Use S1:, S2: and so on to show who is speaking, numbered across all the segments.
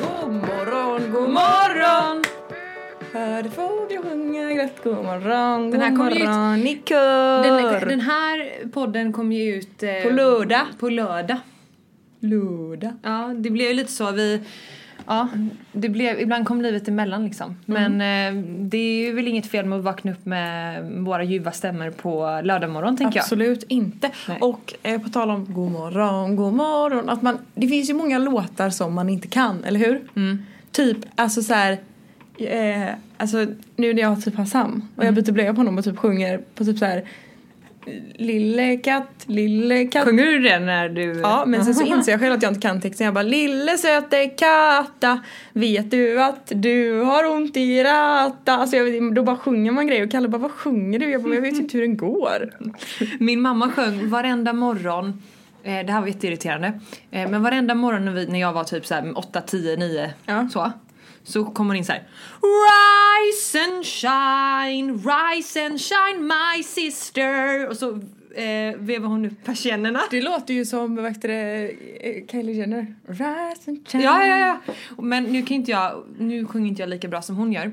S1: God morgon, god morgon! Hörde fåglar sjunga glatt god morgon,
S2: Den här
S1: god
S2: kommer ju ut-
S1: morgon i kör.
S2: Den, den här podden kom ju ut... eh,
S1: På lördag.
S2: På lördag.
S1: Lördag.
S2: Ja, det blev ju lite så. Vi, ja, det blev, ibland kom livet emellan liksom.
S1: Mm.
S2: Men eh, det är ju väl inget fel med att vakna upp med våra ljuva stämmor på lördag morgon tänker
S1: Absolut inte.
S2: Nej.
S1: Och eh, på tal om god morgon, god morgon. Att man, det finns ju många låtar som man inte kan, eller hur?
S2: Mm.
S1: Typ, alltså så här. Eh, alltså nu när jag typ har Sam och
S2: Mm.
S1: jag byter blöja på honom och typ sjunger på typ så här. Lille katt, lille katt.
S2: jag. Sjunger du det när du...
S1: Ja, men sen så inser jag själv att jag inte kan texten. Jag bara lille söte katta, vet du att du har ont i ratta? Alltså jag, vet- då bara sjunger man grejer och Kalle bara vad sjunger du? Jag bara, "Men jag vet ju inte hur den går.
S2: Min mamma sjöng varenda morgon eh, det här var jätteirriterande. Eh, men varenda morgon när, vi, när jag var typ så här 8, 10, 9
S1: Ja.
S2: så. Så kom hon in så här. Rise and shine, rise and shine my sister. Och så eh, vevar hon upp persiennerna.
S1: Det låter ju som, vad heter det, eh, Kylie Jenner. Rise and shine.
S2: Ja, ja, ja. Men nu kan inte jag, nu sjunger inte jag lika bra som hon gör.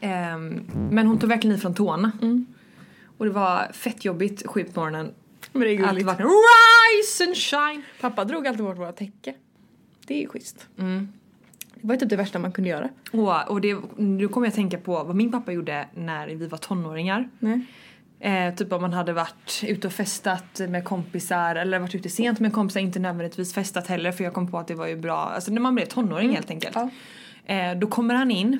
S2: Ehm, men hon tog verkligen i från tårna.
S1: Mm.
S2: Och det var fett jobbigt sju på morgonen.
S1: Men det är
S2: Alltid
S1: gulligt.
S2: vakna, rise and shine.
S1: Pappa drog alltid bort våra täcke. Det är ju schysst. Det var ju typ det värsta man kunde göra.
S2: Och, och det, nu kommer jag tänka på vad min pappa gjorde när vi var tonåringar.
S1: Nej.
S2: Eh, typ om man hade varit ute och festat med kompisar eller varit ute sent med kompisar, inte nödvändigtvis festat heller för jag kom på att det var ju bra, alltså när man blev tonåring helt enkelt.
S1: Mm. Ja.
S2: Eh, då kommer han in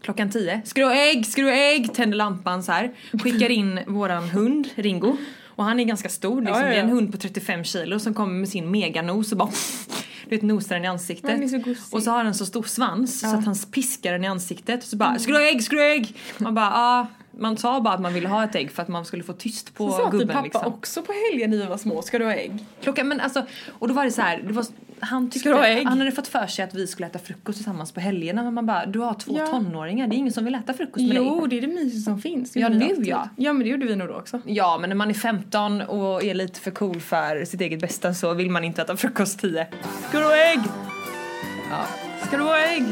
S2: klockan 10, skru ägg, skru ägg, tänder lampan så här. skickar in våran hund Ringo och han är ganska stor, liksom.
S1: Ja, ja, ja.
S2: det är en hund på 35 kilo som kommer med sin meganos och bara du vet nosar den i ansiktet.
S1: Han är så gosig.
S2: och så har den så stor svans så att han piskar den i ansiktet och så
S1: Mm.
S2: bara skru ägg, skru ägg! Man bara ah. Man sa bara att man ville ha ett ägg för att man skulle få tyst på
S1: Så sa typ
S2: gubben
S1: pappa
S2: liksom.
S1: också på helgen när vi var små, ska du ha ägg?
S2: Klockan, men alltså, och då var det så här, det var, han,
S1: Ska du ha
S2: tyckte,
S1: ägg?
S2: han hade fått för sig att vi skulle äta frukost tillsammans på helgerna men man bara du har två
S1: Ja.
S2: tonåringar, det är ingen som vill äta frukost med
S1: Jo,
S2: dig.
S1: det är det mysigaste som finns. Det
S2: Ja,
S1: gjorde vi alltid.
S2: nu ja.
S1: Ja, men det gjorde vi nog då också.
S2: Ja men när man är 15 och är lite för cool för sitt eget bästa så vill man inte äta frukost 10. Ska du ha ägg? Ja. Ska du ha ägg?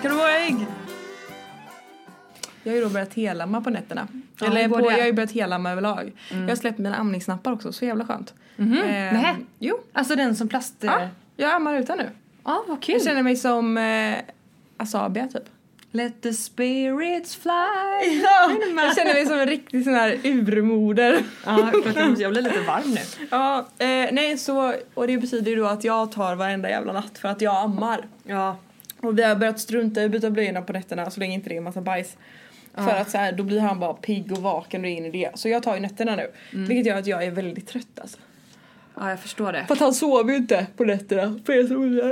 S2: Ska du ha ägg? Eh,
S1: Jag har ju då börjat helamma på nätterna.
S2: Ja,
S1: Eller
S2: hur
S1: på,
S2: går det? Mm.
S1: jag har ju börjat helamma överlag. Jag har släppt mina amningsnappar också, så jävla skönt. Eh,
S2: Mhm. Nähä.
S1: Jo.
S2: Alltså den som plast...
S1: Ja, jag ammar utan nu.
S2: ja vad kul.
S1: Jag känner mig som eh, Asabia typ.
S2: Let the spirits fly.
S1: jag känner mig som en riktig sån här urmoder.
S2: Ja, jag blir lite varm nu.
S1: ja, eh, nej så, och det betyder ju då att jag tar varenda jävla natt för att jag ammar.
S2: Ja.
S1: Och vi har börjat strunta i att byta blöjorna på nätterna så länge inte det är en massa bajs. För att så här, då blir han bara pigg och vaken och in i det. Så jag tar ju nätterna nu.
S2: Mm.
S1: Vilket gör att jag är väldigt trött alltså.
S2: ja, jag förstår det.
S1: För att han sover ju inte på nätterna för er som undrar.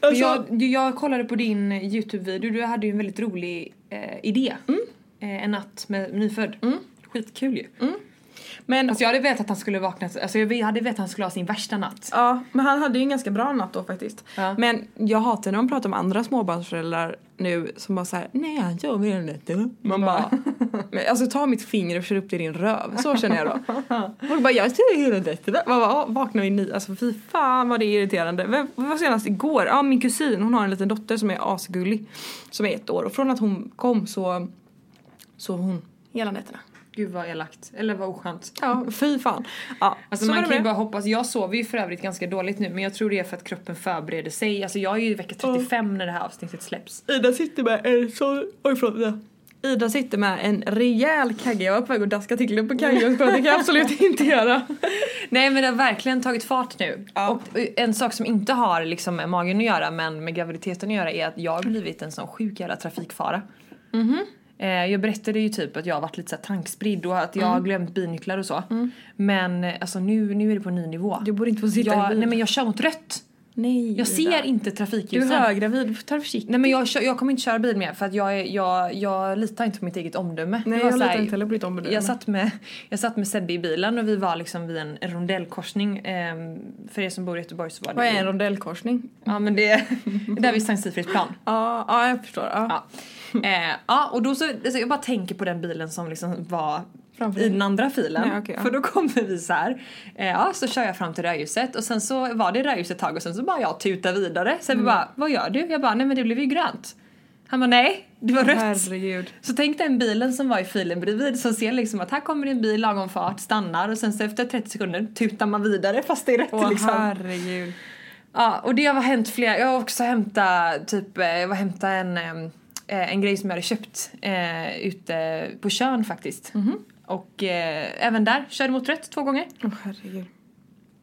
S2: Men
S1: Alltså,
S2: Jag, jag kollade på din Youtube-video, du hade ju en väldigt rolig eh, idé.
S1: Mm.
S2: Eh, en natt med nyfödd. Skitkul ju.
S1: Mm. men,
S2: Alltså jag hade vetat att han skulle vakna, alltså jag hade vetat att han skulle ha sin värsta natt.
S1: ja, men han hade ju en ganska bra natt då faktiskt.
S2: Ja.
S1: Men jag hatar när de pratar om andra småbarnsföräldrar nu som bara såhär nej han sover hela nätterna. Man bara men, alltså ta mitt finger och kör upp det i din röv. Så känner jag då. Folk bara jag sover hela nätterna. Man bara "Ja, vaknar vi ni. Alltså fy fan vad det är irriterande. Vem, vad var senast igår? Ja min kusin hon har en liten dotter som är asgullig. Som är ett år och från att hon kom så sov hon hela nätterna.
S2: Gud vad elakt. Eller vad oskönt.
S1: Ja, fy fan. Ja,
S2: Alltså
S1: så
S2: man
S1: var det
S2: kan ju
S1: med.
S2: bara hoppas. Jag sover ju för övrigt ganska dåligt nu men jag tror det är för att kroppen förbereder sig. Alltså jag är ju i
S1: Mm.
S2: vecka 35 när det här avsnittet släpps.
S1: Ida sitter med en sån... Oj förlåt Ida. Ida sitter med en rejäl kagge. Jag var på väg att daska till på kagge och bara, det kan jag absolut inte göra.
S2: Nej men det har verkligen tagit fart nu.
S1: Ja.
S2: Och eh, en sak som inte har liksom med magen att göra men med graviditeten att göra är att jag har blivit en sån sjuk jävla trafikfara.
S1: Mhm.
S2: Eh, Jag berättade ju typ att jag har varit lite så här tankspridd och att jag
S1: Mm.
S2: har glömt binycklar och så. Men eh, alltså nu, nu är det på en ny nivå.
S1: Du borde inte få sitta i
S2: jag,
S1: bil.
S2: nej men jag kör mot rött.
S1: Nej,
S2: Jag
S1: Ida.
S2: ser inte
S1: Du är
S2: trafikljusen.
S1: höggravid, ta det försiktigt.
S2: Nej men jag, kör, jag kommer inte köra bil mer för att jag, är- jag, jag litar inte på mitt eget omdöme. Det
S1: Nej
S2: var
S1: jag
S2: så här-
S1: litar inte heller på ditt omdöme.
S2: jag satt, med, jag satt med Sebbe i bilen och vi var liksom vid en rondellkorsning. Ehm, för er som bor i Göteborg så var det...
S1: Vad är en rondellkorsning?
S2: Ja men det är där vid Sankt Sigfrids plan.
S1: Ja, ja jag förstår. Ja.
S2: Ja. Eh, ja och då så, alltså jag bara tänker på den bilen som liksom var
S1: Framför
S2: i
S1: dig.
S2: den andra filen.
S1: Nej, okej, ja.
S2: För då kommer vi så här. Eh, ja så kör jag fram till rödljuset och sen så var det rödljuset ett tag och sen så bara jag tutar vidare. Sen
S1: Mm.
S2: bara, vad gör du? Jag bara, nej men det blev ju grönt. Han bara, nej det var rött.
S1: Herregud.
S2: Så tänk den bilen som var i filen bredvid som ser liksom att här kommer en bil lagom fart, stannar och sen så efter 30 sekunder tutar man vidare fast det är rätt
S1: Åh
S2: liksom.
S1: herregud.
S2: Ja, och det har hänt flera, jag har också hämtat typ, eh, jag var hämta en, eh, en grej som jag hade köpt eh, ute på Tjörn faktiskt. Och eh, även där körde mot rött två gånger.
S1: Åh herregud.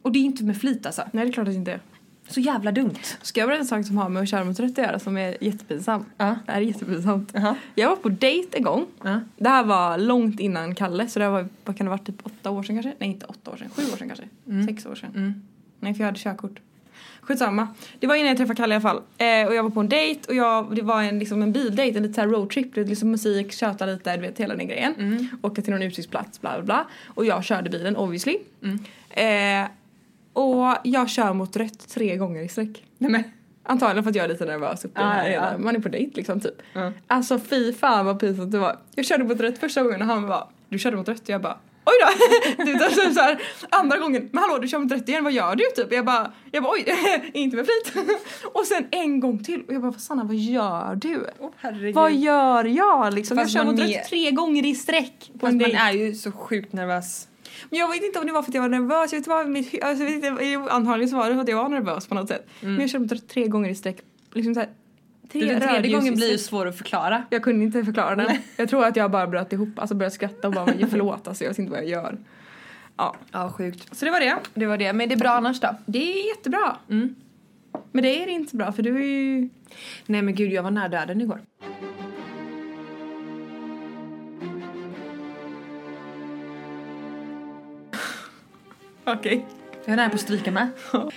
S2: Och det är inte med flit alltså.
S1: Nej det är klart att det inte är.
S2: Så jävla dumt.
S1: Ska jag berätta en sak som har med att köra mot rött att göra som är jättepinsam?
S2: Ja.
S1: Det här är jättepinsamt.
S2: Jaha.
S1: Jag var på dejt en gång.
S2: Ja.
S1: Det här var långt innan Kalle så det här var, vad kan det ha varit, typ åtta år sedan kanske? Nej inte åtta år sedan, sju år sedan kanske?
S2: Mm.
S1: Sex år sedan? Nej för jag hade körkort. Skitsamma. Det var innan jag träffade Kalle i alla fall. Eh, och jag var på en dejt och jag, det var en, liksom en bildejt, en lite såhär roadtrip. Det är liksom musik, tjöta lite, du vet hela den grejen.
S2: Mm.
S1: Åka till någon utsiktsplats, bla bla bla. Och jag körde bilen obviously.
S2: Mm.
S1: Eh, och jag kör mot rött tre gånger i sträck.
S2: Nej men.
S1: Antagligen för att jag är lite nervös uppe i
S2: Ah,
S1: den här
S2: ja,
S1: redan.
S2: ja.
S1: Man är på dejt liksom typ.
S2: Mm.
S1: Alltså fy fan vad pinsamt det var. Jag körde mot rött första gången och han bara du körde mot rött och jag bara oj då. typ så- så så här, andra gången men hallå du kör mot rött igen vad gör du typ? Jag bara, jag bara oj inte med flit. och sen en gång till och jag bara Sanna vad gör du?
S2: herregud.
S1: Vad gör jag liksom?
S2: Fast
S1: jag kör
S2: man
S1: mot
S2: är-
S1: rött tre gånger i sträck. på en
S2: Fast man
S1: dejt.
S2: är ju så sjukt nervös.
S1: Men jag vet inte om det var för att jag var nervös, jag vet inte vad mitt, hu- alltså, jag vet inte, jo, antagligen så var det för att jag var nervös på något sätt. Men jag körde mot tre gånger i sträck. Liksom så här, tre,
S2: Den tredje
S1: rödljus
S2: gången
S1: i
S2: blir ju
S1: sträck.
S2: svår att förklara.
S1: Jag kunde inte förklara den. Jag tror att jag bara bröt ihop, alltså började skratta och bara men förlåt alltså jag vet inte vad jag gör. Ja,
S2: Ja sjukt.
S1: så det var det.
S2: Det var det, men det är bra annars då?
S1: Det är jättebra. Mm. Men det är det inte bra för du är ju...
S2: Nej men gud, jag var nära döden igår.
S1: Okej.
S2: Jag var nära på att stryka med.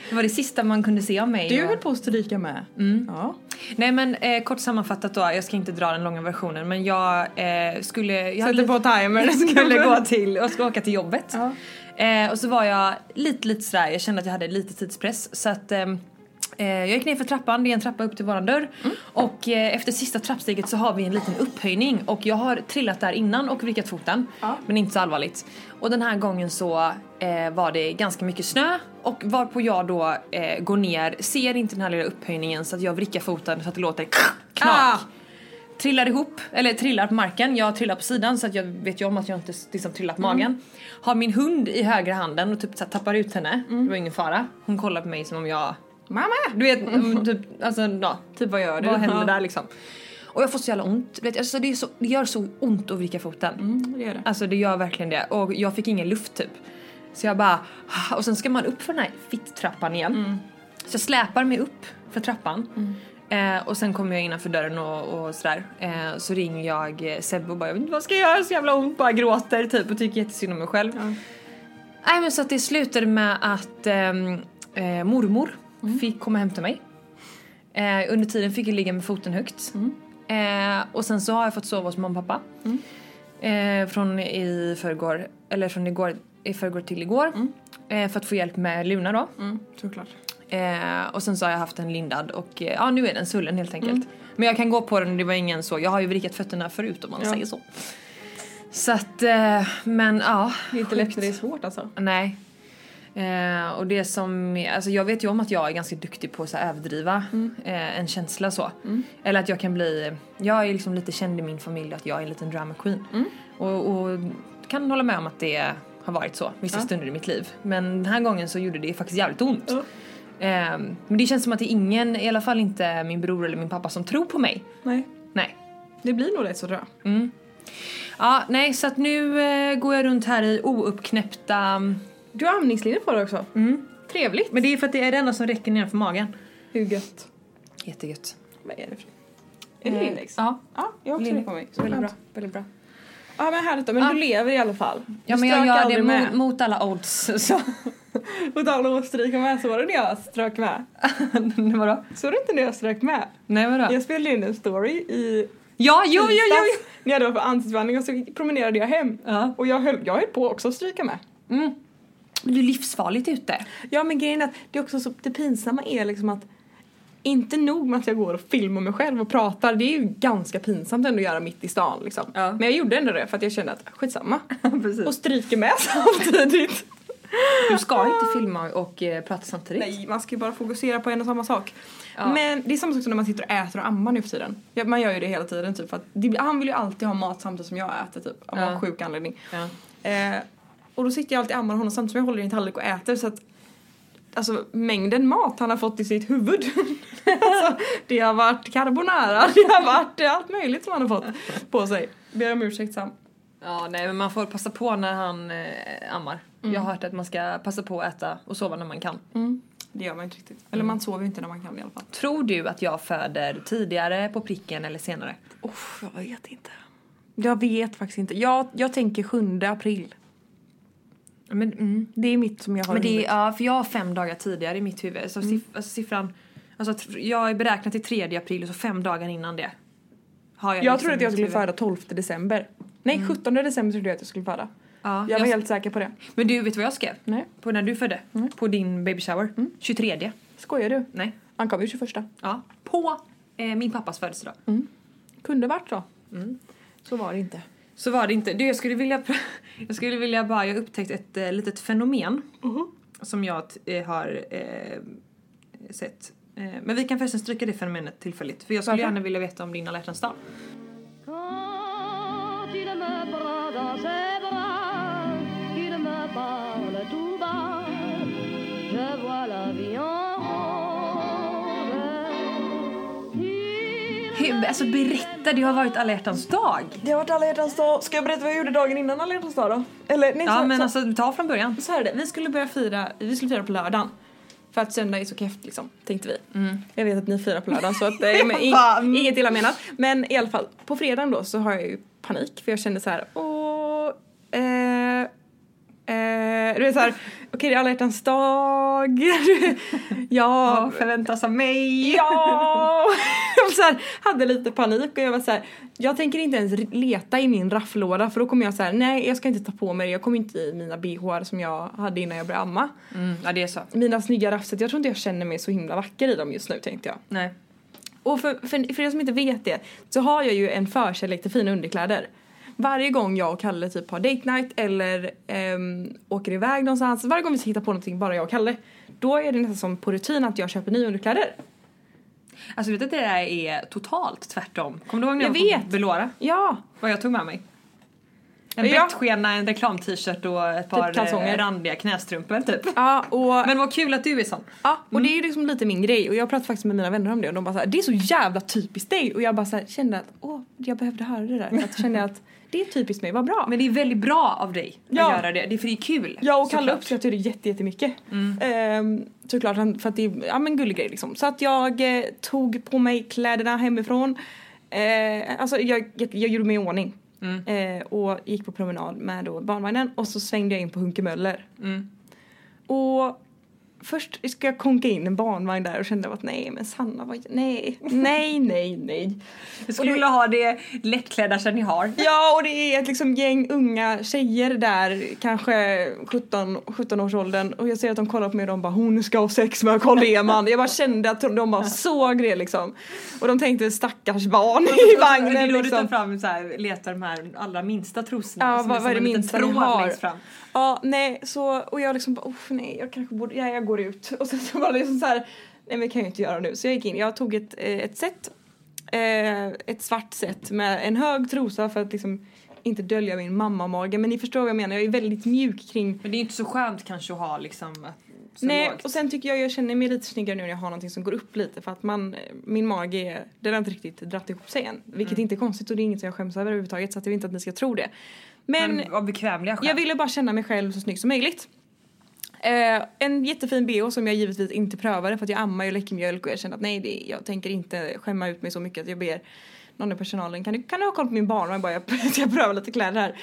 S2: Det var det sista man kunde se av mig.
S1: Du
S2: och-
S1: höll på att stryka med. Ja.
S2: Nej men eh, kort sammanfattat då, jag ska inte dra den långa versionen men jag eh, skulle... Jag hade
S1: Sätter på timer.
S2: jag skulle gå till, jag skulle åka till jobbet.
S1: Ja.
S2: Eh, och så var jag lite, lite sådär, jag kände att jag hade lite tidspress så att ehm, eh, jag gick ner för trappan, det är en trappa upp till våran dörr
S1: Mm.
S2: och eh, efter sista trappsteget så har vi en liten upphöjning och jag har trillat där innan och vrickat foten
S1: Ja.
S2: men inte så allvarligt. Och den här gången så eh, var det ganska mycket snö och varpå jag då eh, går ner, ser inte den här lilla upphöjningen så att jag vrickar foten så att det låter knak
S1: Ah!
S2: trillar ihop, eller trillar på marken. Jag trillar på sidan så att jag vet ju om att jag inte liksom trillar på magen. Har min hund i högra handen och typ så här, tappar ut henne. Det var ingen fara. Hon kollar på mig som om jag...
S1: Mamma!
S2: Du vet, mm, typ, alltså, ja, typ vad gör du? Vad händer där liksom? Och jag får så jävla ont. Du Vet, alltså, det, är så, det gör så ont att vricka foten.
S1: Det gör det.
S2: Alltså det gör verkligen det. Och jag fick ingen luft typ. Så jag bara... Och sen ska man upp för den här fitt-trappan igen. Så jag släpar mig upp för trappan. Eh, och sen kommer jag innanför dörren och, och sådär. Eh, så ringer jag eh, Sebbe och bara jag vet inte vad ska jag göra, så jävla ont. Bara gråter typ och tycker jättesynd om mig själv. Nej men så att det slutade med att ehm, eh, mormor fick komma och hämta mig. Eh, under tiden fick jag ligga med foten högt. Eh, och sen så har jag fått sova hos mamma och pappa. Eh, från i förrgår, eller från igår, i förrgår till igår. Eh, för att få hjälp med Luna då.
S1: Mm, såklart.
S2: Eh, och sen så har jag haft en lindad och eh, ja nu är den svullen helt enkelt.
S1: Mm.
S2: Men jag kan gå på den och det var ingen så. Jag har ju vrickat fötterna förut om man
S1: Ja.
S2: säger så. Så att, eh, men ja.
S1: Det är inte lätt när det är svårt alltså.
S2: Nej. Eh, och det som, alltså jag vet ju om att jag är ganska duktig på att så här överdriva eh, en känsla så. Eller att jag kan bli, jag är liksom lite känd i min familj att jag är en liten drama queen. Och, och kan hålla med om att det har varit så vissa stunder i mitt liv. Men den här gången så gjorde det faktiskt jävligt ont. Ehm, men det känns som att det är ingen, i alla fall inte min bror eller min pappa, som tror på mig.
S1: Nej,
S2: Nej.
S1: det blir nog lätt så tror jag.
S2: Ja, nej, så att nu eh, går jag runt här i ouppknäppta...
S1: Du har amningslinje på dig också. Trevligt.
S2: Men det är för att det är det enda som räcker nedanför magen.
S1: Hur gött.
S2: Jättegött.
S1: Vad är det för Är det Lindex?
S2: Eh, Ja,
S1: Ja, jag har också det på mig. Så
S2: väldigt bra.
S1: skönt.
S2: Väldigt bra.
S1: Ja men härligt då, men
S2: Ja.
S1: du lever i alla fall.
S2: Ja,
S1: du
S2: men jag
S1: strök
S2: gör
S1: aldrig
S2: det mot,
S1: med.
S2: mot alla odds. Så.
S1: På tal om att stryka med så var det när jag strök med.
S2: vadå?
S1: Såg du inte när jag strök med?
S2: Nej, vadå?
S1: Jag spelade in en story i
S2: Ja, jo, jo, jo! jo.
S1: tisdags när jag då var på ansiktsvandring och så promenerade jag hem.
S2: Ja.
S1: Och jag höll, jag höll på också att stryka med.
S2: Men det är livsfarligt ute.
S1: Ja men grejen är att det är också så, det pinsamma är liksom att inte nog med att jag går och filmar mig själv och pratar, det är ju ganska pinsamt ändå att göra mitt i stan liksom.
S2: Ja.
S1: Men jag gjorde ändå det för att jag kände att skitsamma.
S2: Precis.
S1: och stryker med samtidigt.
S2: Du ska inte filma och eh, prata samtidigt.
S1: Ah. Nej, man ska ju bara fokusera på en och samma sak.
S2: Ja.
S1: Men det är samma sak som när man sitter och äter och ammar nu för tiden. Ja, man gör ju det hela tiden typ. För att det, blir- han vill ju alltid ha mat samtidigt som jag äter typ. Av
S2: Ja.
S1: någon sjuk anledning.
S2: Ja.
S1: Eh, och då sitter jag alltid och ammar honom samtidigt som jag håller i en tallrik och äter. Så att Alltså mängden mat han har fått i sitt huvud. alltså, det har varit carbonara, det har varit eh, allt möjligt som han har fått på sig. Ber om ursäkt Sam.
S2: Ja, nej, men man får passa på när han eh, ammar.
S1: Mm.
S2: Jag har hört att man ska passa på att äta och sova när man kan.
S1: Det gör man inte riktigt. Eller man sover ju inte när man kan i alla fall.
S2: Tror du att jag föder tidigare på pricken eller senare?
S1: Uff, jag vet inte. Jag vet faktiskt inte. Jag, jag tänker 7 april.
S2: Men, mm.
S1: Det är mitt som jag har Mm.
S2: men det
S1: i
S2: är, ja, för jag har fem dagar tidigare i mitt huvud. Så siff- alltså, siffran... Alltså, att jag är beräknad till 3 april och så fem dagar innan det. Har
S1: Jag,
S2: liksom
S1: trodde att
S2: i
S1: jag
S2: mitt
S1: skulle
S2: huvud.
S1: föda 12 december. Nej, 17 december trodde jag att jag skulle föda.
S2: Mm. Ja,
S1: jag var
S2: jag-
S1: helt säker på det.
S2: Men du, vet du vad jag skrev?
S1: Nej. Mm.
S2: På när du födde? På din baby shower? 23.
S1: Skojar du?
S2: Nej.
S1: Han kom ju 21.
S2: Ja. På eh, min pappas födelsedag.
S1: Mm. Kunde varit så. Så var det inte.
S2: Så var det inte. Du, jag skulle vilja... pr- Jag skulle vilja bara... Jag upptäckte ett eh, litet fenomen.
S1: Mm-hmm.
S2: Som jag t- eh, har eh, sett. Eh, men vi kan förresten stryka det fenomenet tillfälligt. För jag skulle
S1: Varför?
S2: gärna vilja veta om din alla hjärtans dag.
S3: Quand il me prend dans ses bras, qu'il me parle tout bas, je vois la vie en rose. Il
S2: Hur- Alltså berätta, det har varit alla hjärtans dag.
S1: Det har varit alla hjärtans dag. Ska jag berätta vad jag gjorde dagen innan alla hjärtans dag då? Eller nej,
S2: Ja
S1: så,
S2: men
S1: så,
S2: alltså ta från början.
S1: så här är det. Vi skulle börja fira, vi skulle fira på lördagen. För att söndag är så keft liksom, tänkte vi. Jag vet att ni firar på lördagen så att det är
S2: mm.
S1: ing, inget illa menat. Men i alla fall, på fredagen då så har jag ju panik för jag kände så här, åh, eh, eh, du vet såhär, okej det är alla hjärtans dag, ja,
S2: förväntas av mig?
S1: Ja! Jag var så här, hade lite panik och jag var så här, jag tänker inte ens leta i min rafflåda för då kommer jag så här, nej jag ska inte ta på mig det, jag kommer inte i mina bhar som jag hade innan jag började amma.
S2: Mm, ja det är så.
S1: Mina snygga raffset, jag tror inte jag känner mig så himla vacker i dem just nu tänkte jag.
S2: Nej.
S1: Och för, för, för er som inte vet det så har jag ju en förkärlek till fina underkläder. Varje gång jag och Kalle typ har date night eller ehm, åker iväg någonstans, varje gång vi ska hitta på någonting bara jag och Kalle, då är det nästan som på rutin att jag köper nya underkläder.
S2: Alltså vet du att det där är totalt tvärtom? Kommer du ihåg när jag,
S1: Jag
S2: var på
S1: vet.
S2: Belora?
S1: Ja!
S2: Vad jag tog med mig?
S1: Ja.
S2: En
S1: Typ
S2: bettskena, en reklam-t-shirt och ett par
S1: kalsonger.
S2: eh, randiga knästrumpor typ.
S1: Ja, och
S2: Men vad kul att du är sån.
S1: Ja, och det är ju liksom lite min grej och jag pratade faktiskt med mina vänner om det och de bara såhär, det är så jävla typiskt dig och jag bara såhär kände att åh, jag behövde höra det där. För Att kände att det är typiskt mig, vad bra. Men
S2: Men det är väldigt bra av dig
S1: Ja.
S2: att göra det, det är för det är kul.
S1: jag och Kalle
S2: såklart.
S1: uppskattar det jätte- jättemycket. Ehm, såklart han- för att det är ja, men gullig grej liksom. Så att jag eh, tog på mig kläderna hemifrån. Eh, alltså jag, jag, jag gjorde mig i ordning. Eh, och gick på promenad med då barnvagnen och så svängde jag in på Hunkemöller. Och först ska jag konka in en barnvagn där och kände att nej men Sanna vad, nej, nej, nej, nej.
S2: Jag skulle vilja ha det lättklädda som ni har.
S1: Ja och det är ett liksom gäng unga tjejer där, kanske 17, 17 års åldern och jag ser att de kollar på mig och de bara hon ska ha sex med Carl Lehmann. Jag bara kände att de bara såg det liksom. Och de tänkte stackars barn i
S2: Alltså, det är
S1: vagnen
S2: då du tar
S1: liksom.
S2: fram så här, letar de här allra minsta trosorna.
S1: Ja,
S2: som
S1: vad,
S2: som
S1: vad är det
S2: en liten
S1: minsta du
S2: tråd
S1: har?
S2: längst fram.
S1: Ja, nej, så, och jag liksom bara, "Uff, nej, jag kanske borde, ja, jag går ut. Och sen så var det liksom så här, nej men det kan jag ju inte göra nu. Så jag gick in, jag tog ett, eh, ett set, eh, ett svart set med en hög trosa för att liksom inte dölja min mammamage men ni förstår vad jag menar, jag är väldigt mjuk kring
S2: Men det är inte så skönt kanske att ha liksom att, så
S1: Nej,
S2: lågt.
S1: och sen tycker jag jag känner mig lite snyggare nu när jag har någonting som går upp lite för att man, eh, min mage, är- den har inte riktigt dratt ihop sig än. Vilket inte är konstigt och det är inget som jag skäms över överhuvudtaget så att jag vill inte att ni ska tro det. Men,
S2: Men av bekvämliga skäl.
S1: jag ville bara känna mig själv så snygg som möjligt. Eh, en jättefin bh som jag givetvis inte prövade för att jag ammar ju och läcker mjölk och jag kände att nej det, jag tänker inte skämma ut mig så mycket att jag ber någon i personalen kan du, kan du ha koll på min barn? Och jag bara jag, jag prövar lite kläder här.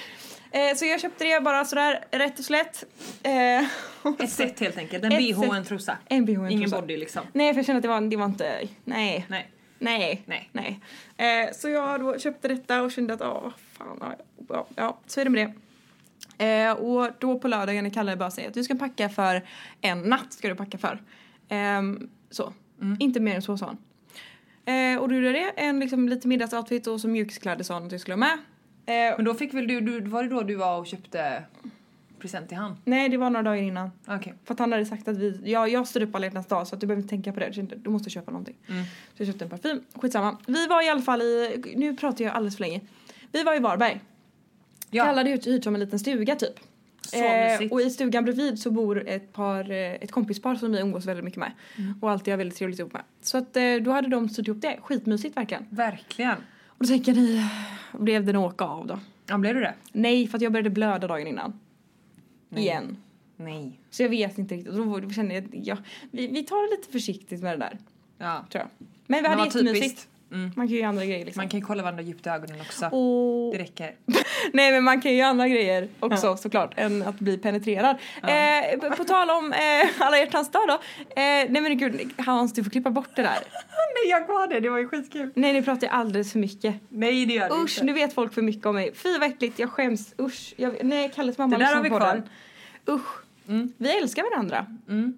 S1: Eh, så jag köpte det bara sådär rätt och slätt. Eh, och
S2: Ett
S1: så-
S2: sätt helt enkelt. En
S1: Ett
S2: bh och
S1: sätt.
S2: en trosa.
S1: En bh och en
S2: Ingen
S1: trosa.
S2: body liksom.
S1: Nej för jag kände att det var, det var inte, nej.
S2: Nej.
S1: Nej.
S2: Nej.
S1: Nej. Eh, så jag då köpte detta och kände att åh, fan, ja, ja, ja, så är det med det. Eh, och då på lördagen när Kalle bara säger att du ska packa för en natt ska du packa för. Ehm, så.
S2: Mm.
S1: Inte mer än så sa han. Eh, och då gjorde jag det. En liksom, lite middagsoutfit och så mjukiskläder sa han att jag skulle ha med. Eh,
S2: Men då fick väl du, du, var det då du var och köpte present till han?
S1: nej det var några dagar innan.
S2: Okej.
S1: För att han hade sagt att vi, ja, jag står upp alla hjärtans dag så att du behöver inte tänka på det. Jag kände, Du måste köpa någonting.
S2: Mm.
S1: Så jag köpte en parfym. Skitsamma. Vi var i alla fall i, nu pratar jag alldeles för länge. Vi var i Varberg.
S2: Ja.
S1: Kalle hade hyrt- hyrt som en liten stuga typ. Eh,
S2: Så mysigt.
S1: och i stugan bredvid så bor ett par, eh, ett kompispar som vi umgås väldigt mycket med.
S2: Mm.
S1: Och alltid har väldigt trevligt ihop med. Så att eh, då hade de styrt ihop det. Skitmysigt verkligen.
S2: Verkligen.
S1: Och då tänker ni, blev det en åka av då?
S2: Ja, blev du det?
S1: Nej, för att jag började blöda dagen innan. Igen.
S2: Nej.
S1: Så jag vet inte riktigt. Och då kände jag att ja, vi, vi tar det lite försiktigt med det där.
S2: Ja.
S1: Tror jag. Men vi hade
S2: vad typiskt. Mm.
S1: jättemysigt. Man kan ju göra andra grejer liksom.
S2: Man kan ju kolla varandra djupt i ögonen också.
S1: Och...
S2: Det räcker.
S1: Nej men man kan ju göra andra grejer också såklart än att bli penetrerad. Eh, på, på tal om eh, alla hjärtans dag då. Eh, nej men gud Hans du får klippa bort det där.
S2: Nej, jag var det. Det var ju skitkul.
S1: Nej nu pratar jag alldeles för mycket.
S2: Nej, det gör du
S1: Usch
S2: inte.
S1: nu vet folk för mycket om mig. Fy vad äckligt jag skäms. Usch. Jag, nej Kalles mamma
S2: Det där
S1: lyssnar
S2: har vi
S1: på
S2: kvar. Mm.
S1: den. Usch. Vi älskar varandra.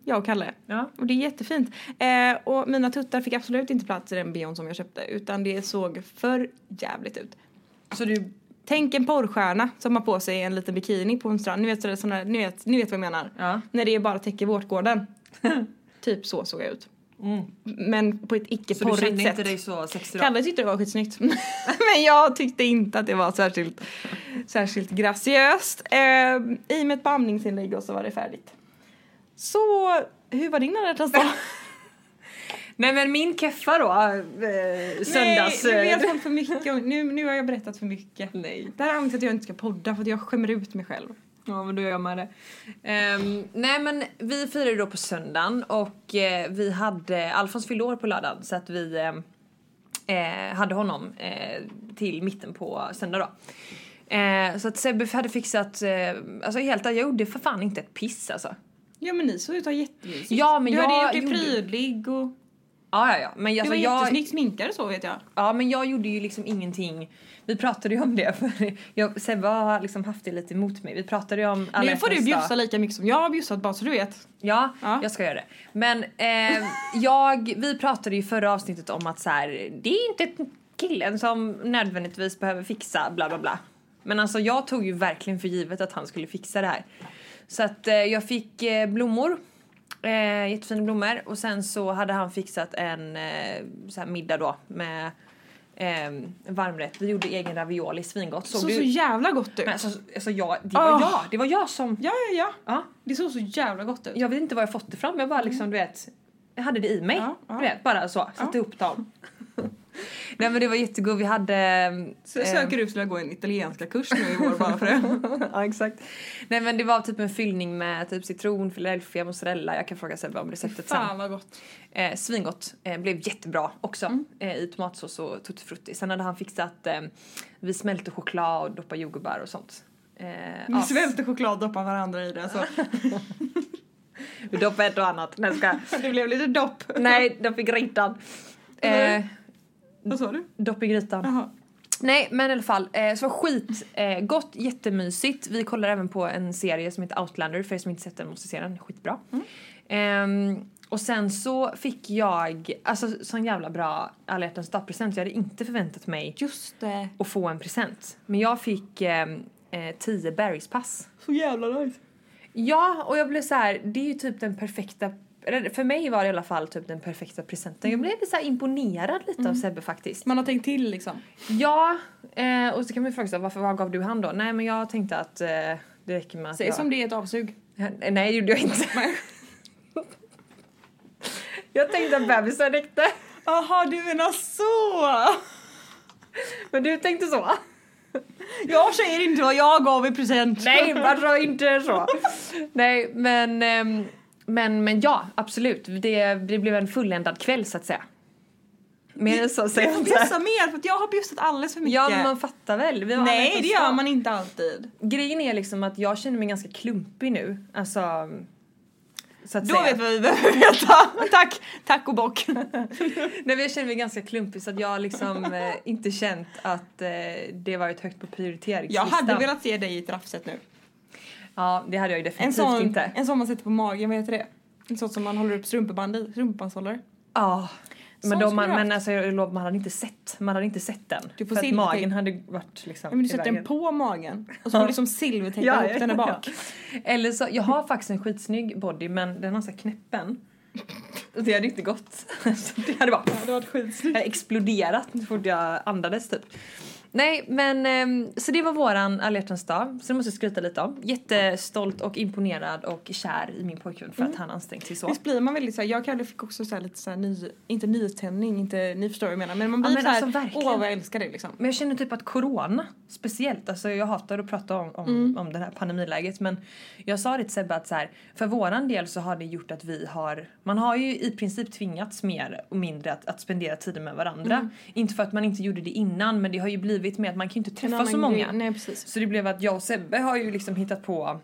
S1: Jag och Kalle.
S2: Ja.
S1: Och det är jättefint. Eh, och mina tuttar fick absolut inte plats i den bion som jag köpte utan det såg för jävligt ut.
S2: Så du...
S1: Tänk en porrstjärna som har på sig en liten bikini på en strand. Ni vet, så det är såna, ni vet, ni vet vad jag menar.
S2: Ja.
S1: När det bara täcker vårtgården. typ så såg jag ut. Men på ett icke
S2: Mm. Så du
S1: porrigt
S2: kände
S1: sätt.
S2: inte dig så sexig då?
S1: Kalle tyckte det var skitsnyggt. Men jag tyckte inte att det var särskilt, särskilt graciöst. Ehm, I och med ett bamningsinlägg och så var det färdigt. Så hur var din alla hjärtans dag?
S2: Nej men min keffa då, eh,
S1: Nej,
S2: söndags...
S1: nu
S2: eh,
S1: vet folk för mycket. om- Nu, nu har jag berättat för mycket.
S2: Nej.
S1: Det här är anledningen till att jag inte ska podda för att jag skämmer ut mig själv.
S2: Ja men då gör man det. Ehm, nej men vi firade då på söndagen och eh, vi hade, Alfons fyllde år på lördagen så att vi ehm, eh, hade honom eh, till mitten på söndag då. Eh, så att Sebbe hade fixat, eh, alltså helt jag gjorde för fan inte ett piss alltså.
S1: Ja men ni såg ut att ha jättemysigt.
S2: Ja, men
S1: du
S2: jag
S1: hade gjort dig
S2: gjorde-
S1: prydlig och
S2: Ja ja ja men
S1: du
S2: alltså,
S1: var
S2: jag,
S1: jättesnyggt sminkad och så vet jag.
S2: ja, men jag gjorde ju liksom ingenting. Vi pratade ju om det för jag, Sebbe har liksom haft det lite emot mig. Vi pratade ju om alla
S1: nu får du
S2: hjärtans dag.
S1: bjussa lika mycket som jag har bjussat bara så du vet.
S2: Ja,
S1: Ja.
S2: jag ska göra det. Men eh, jag, vi pratade ju i förra avsnittet om att så här, det är inte killen som nödvändigtvis behöver fixa bla bla bla. Men alltså jag tog ju verkligen för givet att han skulle fixa det här. Så att eh, jag fick eh, blommor. Eh, jättefina blommor. Och sen så hade han fixat en eh, så här middag då med eh, varmrätt. Vi gjorde egen ravioli, svingott. Såg
S1: Såg så
S2: du?
S1: jävla gott ut.
S2: Men alltså, alltså jag, det var
S1: Ah.
S2: jag. Det var jag som...
S1: Ja ja ja.
S2: Ja.
S1: Det såg så jävla gott ut.
S2: Jag vet inte var jag fått det från, jag bara liksom du vet jag hade det i mig.
S1: Ja, ja.
S2: Du vet, bara så, satte
S1: Ja.
S2: upp dem. Nej men det var jättegod, vi hade... eh,
S1: Så jag söker ut till att gå en italienska kurs nu i vår bara för det.
S2: ja exakt. Nej men det var typ en fyllning med typ citron, philadelphia, mozzarella. Jag kan fråga Sebbe om receptet
S1: Fan
S2: sen.
S1: vad gott.
S2: Eh, svingott, eh, blev jättebra också eh, i tomatsås och tutti frutti. Sen hade han fixat, eh, vi smälte choklad och doppade jordgubbar och sånt. Eh,
S1: Vi svälte choklad doppar varandra i det så
S2: vi doppade ett och annat. Nej, jag skojar.
S1: det blev lite dopp.
S2: Nej, de fick grytan. Eh,
S1: Eller? Vad sa du?
S2: dopp i grytan.
S1: Jaha.
S2: Nej men i alla fall, eh, så skitgott, eh, gott, jättemysigt. Vi kollar även på en serie som heter Outlander, för er som inte sett den måste se den, skitbra. Ehm, och sen så fick jag, alltså sån jävla bra alla hjärtans dag-present. Jag hade inte förväntat mig
S1: Just det.
S2: att få en present. Men jag fick ehm, eh, 10 bergspass.
S1: Så jävla nice.
S2: Ja, och jag blev så här, det är ju typ den perfekta eller för mig var det i alla fall typ den perfekta presenten. Jag blev lite så här imponerad lite av Sebbe faktiskt.
S1: Man har tänkt till liksom.
S2: Ja, eh, och så kan man ju fråga sig varför vad gav du han då? Nej men jag tänkte att eh, det räcker med att
S1: Säg
S2: jag...
S1: som det är ett avsug.
S2: Eh, Nej det gjorde jag inte. jag tänkte att bebisen räckte.
S1: Jaha, du menar så!
S2: Men du tänkte så?
S1: Jag säger inte vad jag gav i present.
S2: Nej, varför inte så? Nej, men, ehm, men, men ja, absolut. Det, det blev en fulländad kväll så att säga. Mer än så säger jag inte.
S1: Bjussa mer för att jag har bjussat alldeles för mycket.
S2: Ja, men man fattar väl. Vi har alla ett
S1: Nej,
S2: och
S1: det
S2: så.
S1: gör man inte alltid.
S2: Grejen är liksom att jag känner mig ganska klumpig nu. Alltså... Så att
S1: Då
S2: säga.
S1: vet vi vad vi behöver veta. Tack, tack och bock.
S2: Nej, men jag känner mig ganska klumpig så att jag har liksom eh, inte känt att eh, det varit högt på
S1: Jag
S2: prioriteringslistan.
S1: hade velat se dig i ett raffset nu.
S2: Ja, det hade jag ju
S1: En
S2: definitivt
S1: sån,
S2: inte.
S1: en sån man sätter på magen, vad heter det? En sån som man håller upp strumpeband i, strumpebandshållare.
S2: Ja.
S1: Sån
S2: Men, de,
S1: skulle
S2: man,
S1: du haft.
S2: men alltså, jag lovar, man hade inte sett, man hade inte sett den.
S1: Du får
S2: för att
S1: silver-
S2: magen hade varit liksom
S1: Men du
S2: i
S1: sätter
S2: vägen.
S1: den på magen och så får du liksom silvertejpa
S2: Ja,
S1: ihop
S2: ja,
S1: den där
S2: ja.
S1: bak.
S2: Eller så, jag har faktiskt en skitsnygg body men den har så här knäppen. Och Det hade inte gått. Så det hade bara
S1: Det var skitsnyggt.
S2: det hade exploderat så fort jag andades typ. Nej men ehm, så det var våran alla hjärtans dag. Så det måste jag skryta lite om. Jättestolt och imponerad och kär i min pojkvän för att han ansträngt sig så.
S1: Visst blir man väldigt såhär, jag och Kalle fick också så här lite såhär ny, inte nytändning, inte, ni förstår vad jag menar men man
S2: Ja,
S1: blir
S2: men
S1: såhär,
S2: alltså verkligen.
S1: åh vad jag älskar det liksom.
S2: Men jag känner typ att corona speciellt, alltså jag hatar att prata om, om,
S1: Mm.
S2: om det här pandemiläget men jag sa det till Sebbe att så här, för våran del så har det gjort att vi har, man har ju i princip tvingats mer och mindre att, att spendera tiden med varandra.
S1: Mm.
S2: Inte för att man inte gjorde det innan men det har ju blivit med att man kan ju inte
S1: En
S2: träffa
S1: annan
S2: så många.
S1: grej- Nej precis.
S2: Så det blev att jag och Sebbe har ju liksom hittat på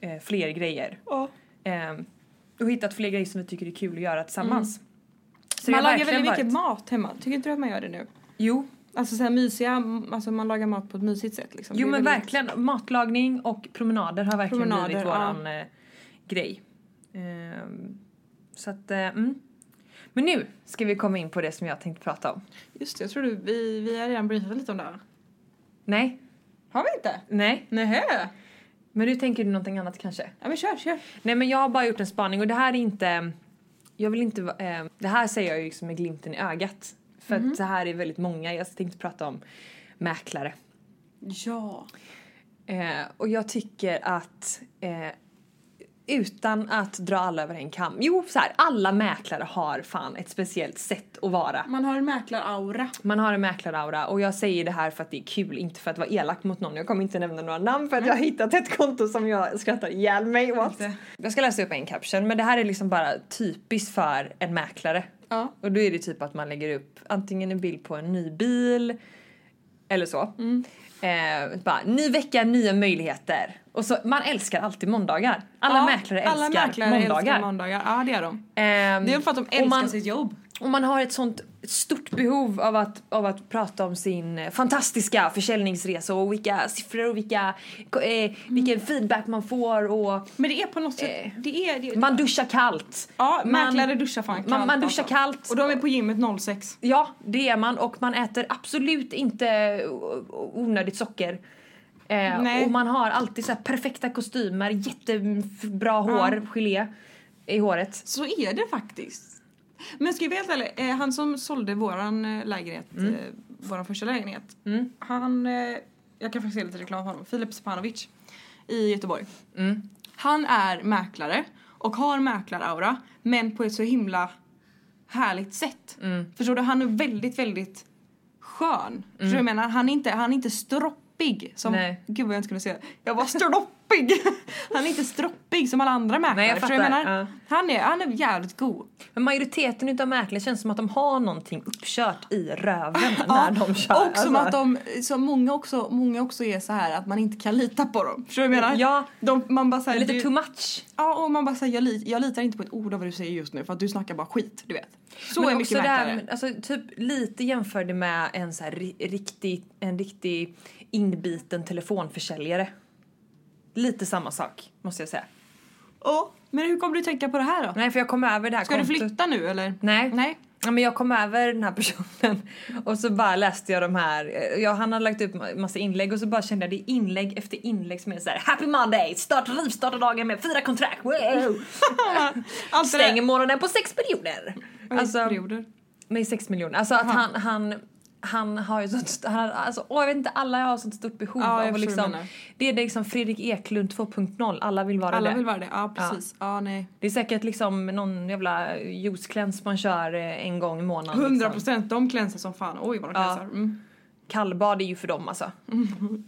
S2: eh, fler grejer.
S1: Ja.
S2: Ehm, och hittat fler grejer som vi tycker är kul att göra tillsammans.
S1: Mm.
S2: Så
S1: man
S2: det har
S1: lagar väldigt
S2: verkligen
S1: mycket
S2: varit-
S1: mat hemma, tycker inte du att man gör det nu?
S2: Jo,
S1: Alltså såhär mysiga, m- alltså man lagar mat på ett mysigt sätt liksom.
S2: Jo
S1: Det är
S2: men
S1: väldigt-
S2: verkligen, matlagning och promenader har verkligen
S1: Promenader,
S2: blivit
S1: ja.
S2: våran eh, grej. Ehm, så att, eh, mm. Men nu ska vi komma in på det som jag tänkte prata om.
S1: Just det, jag tror du, vi, vi har redan briefat lite om det här.
S2: Nej,
S1: Har vi inte?
S2: nej.
S1: Nähä?
S2: Men du tänker du någonting annat kanske?
S1: Ja men kör, kör.
S2: Nej men jag har bara gjort en spaning och det här är inte... Jag vill inte... va- Eh, det här säger jag ju liksom med glimten i ögat. För
S1: Mhm.
S2: att det här är väldigt många, jag tänkte prata om mäklare.
S1: Ja.
S2: Eh, och jag tycker att eh, utan att dra alla över en kam. Jo, så här, alla mäklare har fan ett speciellt sätt att vara.
S1: Man har en mäklaraura.
S2: Man har en mäklaraura och jag säger det här för att det är kul, inte för att vara elak mot någon. Jag kommer inte nämna några namn för att jag har hittat ett konto som jag skrattar ihjäl mig åt.
S1: Inte.
S2: Jag ska läsa upp en caption men det här är liksom bara typiskt för en mäklare.
S1: Ja.
S2: Och då är det typ att man lägger upp antingen en bild på en ny bil eller så. Eh, bara, ny vecka, nya möjligheter. Och så, man älskar alltid måndagar. Alla
S1: ja,
S2: mäklare älskar
S1: alla mäklare älskar
S2: måndagar.
S1: måndagar. Ja det gör de.
S2: Ehm,
S1: Det är för att de
S2: och
S1: älskar
S2: man,
S1: sitt jobb.
S2: och man har ett sånt stort behov av att, av att prata om sin eh, fantastiska försäljningsresa och vilka siffror och vilka,
S1: Mm.
S2: eh, vilken feedback man får och
S1: Men det är på något sätt,
S2: Eh,
S1: det är... Det,
S2: man duschar kallt.
S1: ja,
S2: man-
S1: mäklare duschar fan kallt
S2: man, man duschar
S1: alltså.
S2: kallt.
S1: Och de är på gymmet 06.
S2: Ja, det är man och man äter absolut inte o- o- onödigt socker. Eh,
S1: Nej.
S2: Och man har alltid så här perfekta kostymer, jättebra hår, gelé i håret.
S1: Så är det faktiskt. Men ska jag vara helt ärlig, eh, han som sålde våran eh, lägenhet, eh, våran första lägenhet. Han, eh, jag kan faktiskt se lite reklam för honom, Filip Stepanovic i Göteborg. Han är mäklare och har mäklaraura men på ett så himla härligt sätt. Förstår du? Han är väldigt, väldigt skön. Förstår du vad jag menar? Han är inte, han är inte stroppig som,
S2: Nej.
S1: gud vad jag inte skulle säga, jag var stroppig! han är inte stroppig som alla andra mäklare.
S2: Nej, jag
S1: förstår du vad
S2: fattar.
S1: menar?
S2: Ja.
S1: Han, är, han är jävligt god.
S2: Men majoriteten utav mäklare känns som att de har någonting uppkört i röven när de kör. alltså.
S1: och som att de, som många också, många också är så här att man inte kan lita på dem. Förstår du vad jag menar?
S2: Ja.
S1: De, man bara så här,
S2: Lite
S1: du-
S2: too much.
S1: Ja och man bara säger jag, li, jag litar inte på ett ord av vad du säger just nu för att du snackar bara skit, du vet. Så är mycket
S2: också det här
S1: mäklare.
S2: med- alltså, typ lite jämförde med en så här ri- riktig, en riktig inbiten telefonförsäljare. Lite samma sak måste jag säga.
S1: Ja, men hur kommer du tänka på det här då?
S2: Nej för jag kom över det här
S1: Ska du
S2: kontot.
S1: flytta nu eller?
S2: Nej.
S1: Nej.
S2: Ja, men jag kom över den här personen och så bara läste jag de här. Jag, han hade lagt upp massa inlägg och så bara kände jag det är inlägg efter inlägg som är så här Happy Monday! Starta rivstarta dagen med fyra kontrakt! Wow!
S1: Allt det där.
S2: Stänger månaden på sex miljoner!
S1: Alltså,
S2: Alltså, nej, sex miljoner. Alltså att han, han, han har ju sånt... Han, har- alltså, åh, jag vet inte, alla har sånt stort behov
S1: Ja, jag
S2: av
S1: förstår vad
S2: att
S1: du
S2: liksom...
S1: menar.
S2: Det är liksom Fredrik Eklund 2.0, alla vill vara
S1: alla
S2: det.
S1: vill vara det. Ja, precis. Ja, nej.
S2: Det är säkert liksom någon jävla juiceklänse man kör eh, en gång i månaden.
S1: 100
S2: Liksom.
S1: procent. De klänsar som fan. Oj, vad de
S2: Ja.
S1: klänsar. Mm.
S2: Kallbad är ju för dem alltså.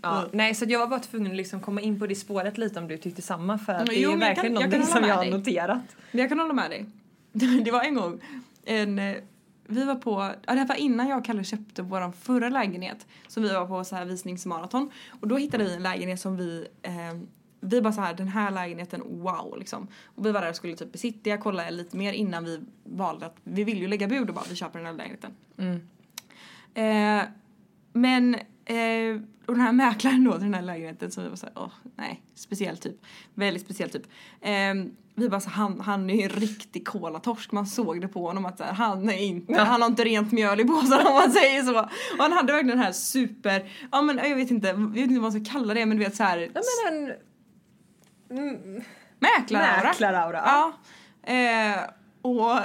S2: Ja. Nej så att jag var bara tvungen att liksom komma in på det spåret lite om du tyckte samma för att
S1: Men
S2: det
S1: jo,
S2: är
S1: men jag
S2: verkligen
S1: kan- jag kan
S2: någonting
S1: hålla
S2: som
S1: med
S2: jag har
S1: dig.
S2: noterat.
S1: Men jag kan hålla med dig. Det var en gång en, eh, vi var på, ja det här var innan jag och Kalle köpte vår förra lägenhet. Så vi var på så här visningsmaraton. Och då hittade vi en lägenhet som vi, eh, vi bara så här den här lägenheten, wow liksom. Och vi var där och skulle typ besiktiga, kolla lite mer innan vi valde att, vi vill ju lägga bud och bara vi köper den här lägenheten. Eh, men eh, och den här mäklaren då till den här lägenheten som vi var såhär, åh nej, speciell typ. Väldigt speciell typ. Eh, vi bara så han, han är ju en riktig kolatorsk, man såg det på honom att så här, han är inte, han har inte rent mjöl i påsen om man säger så. Och han hade verkligen den här super, ja men jag vet inte, jag vet inte vad man ska kalla det men du vet såhär,
S2: Ja, men en
S1: mäklaraura.
S2: mäklaraura.
S1: Ja. Eh, och,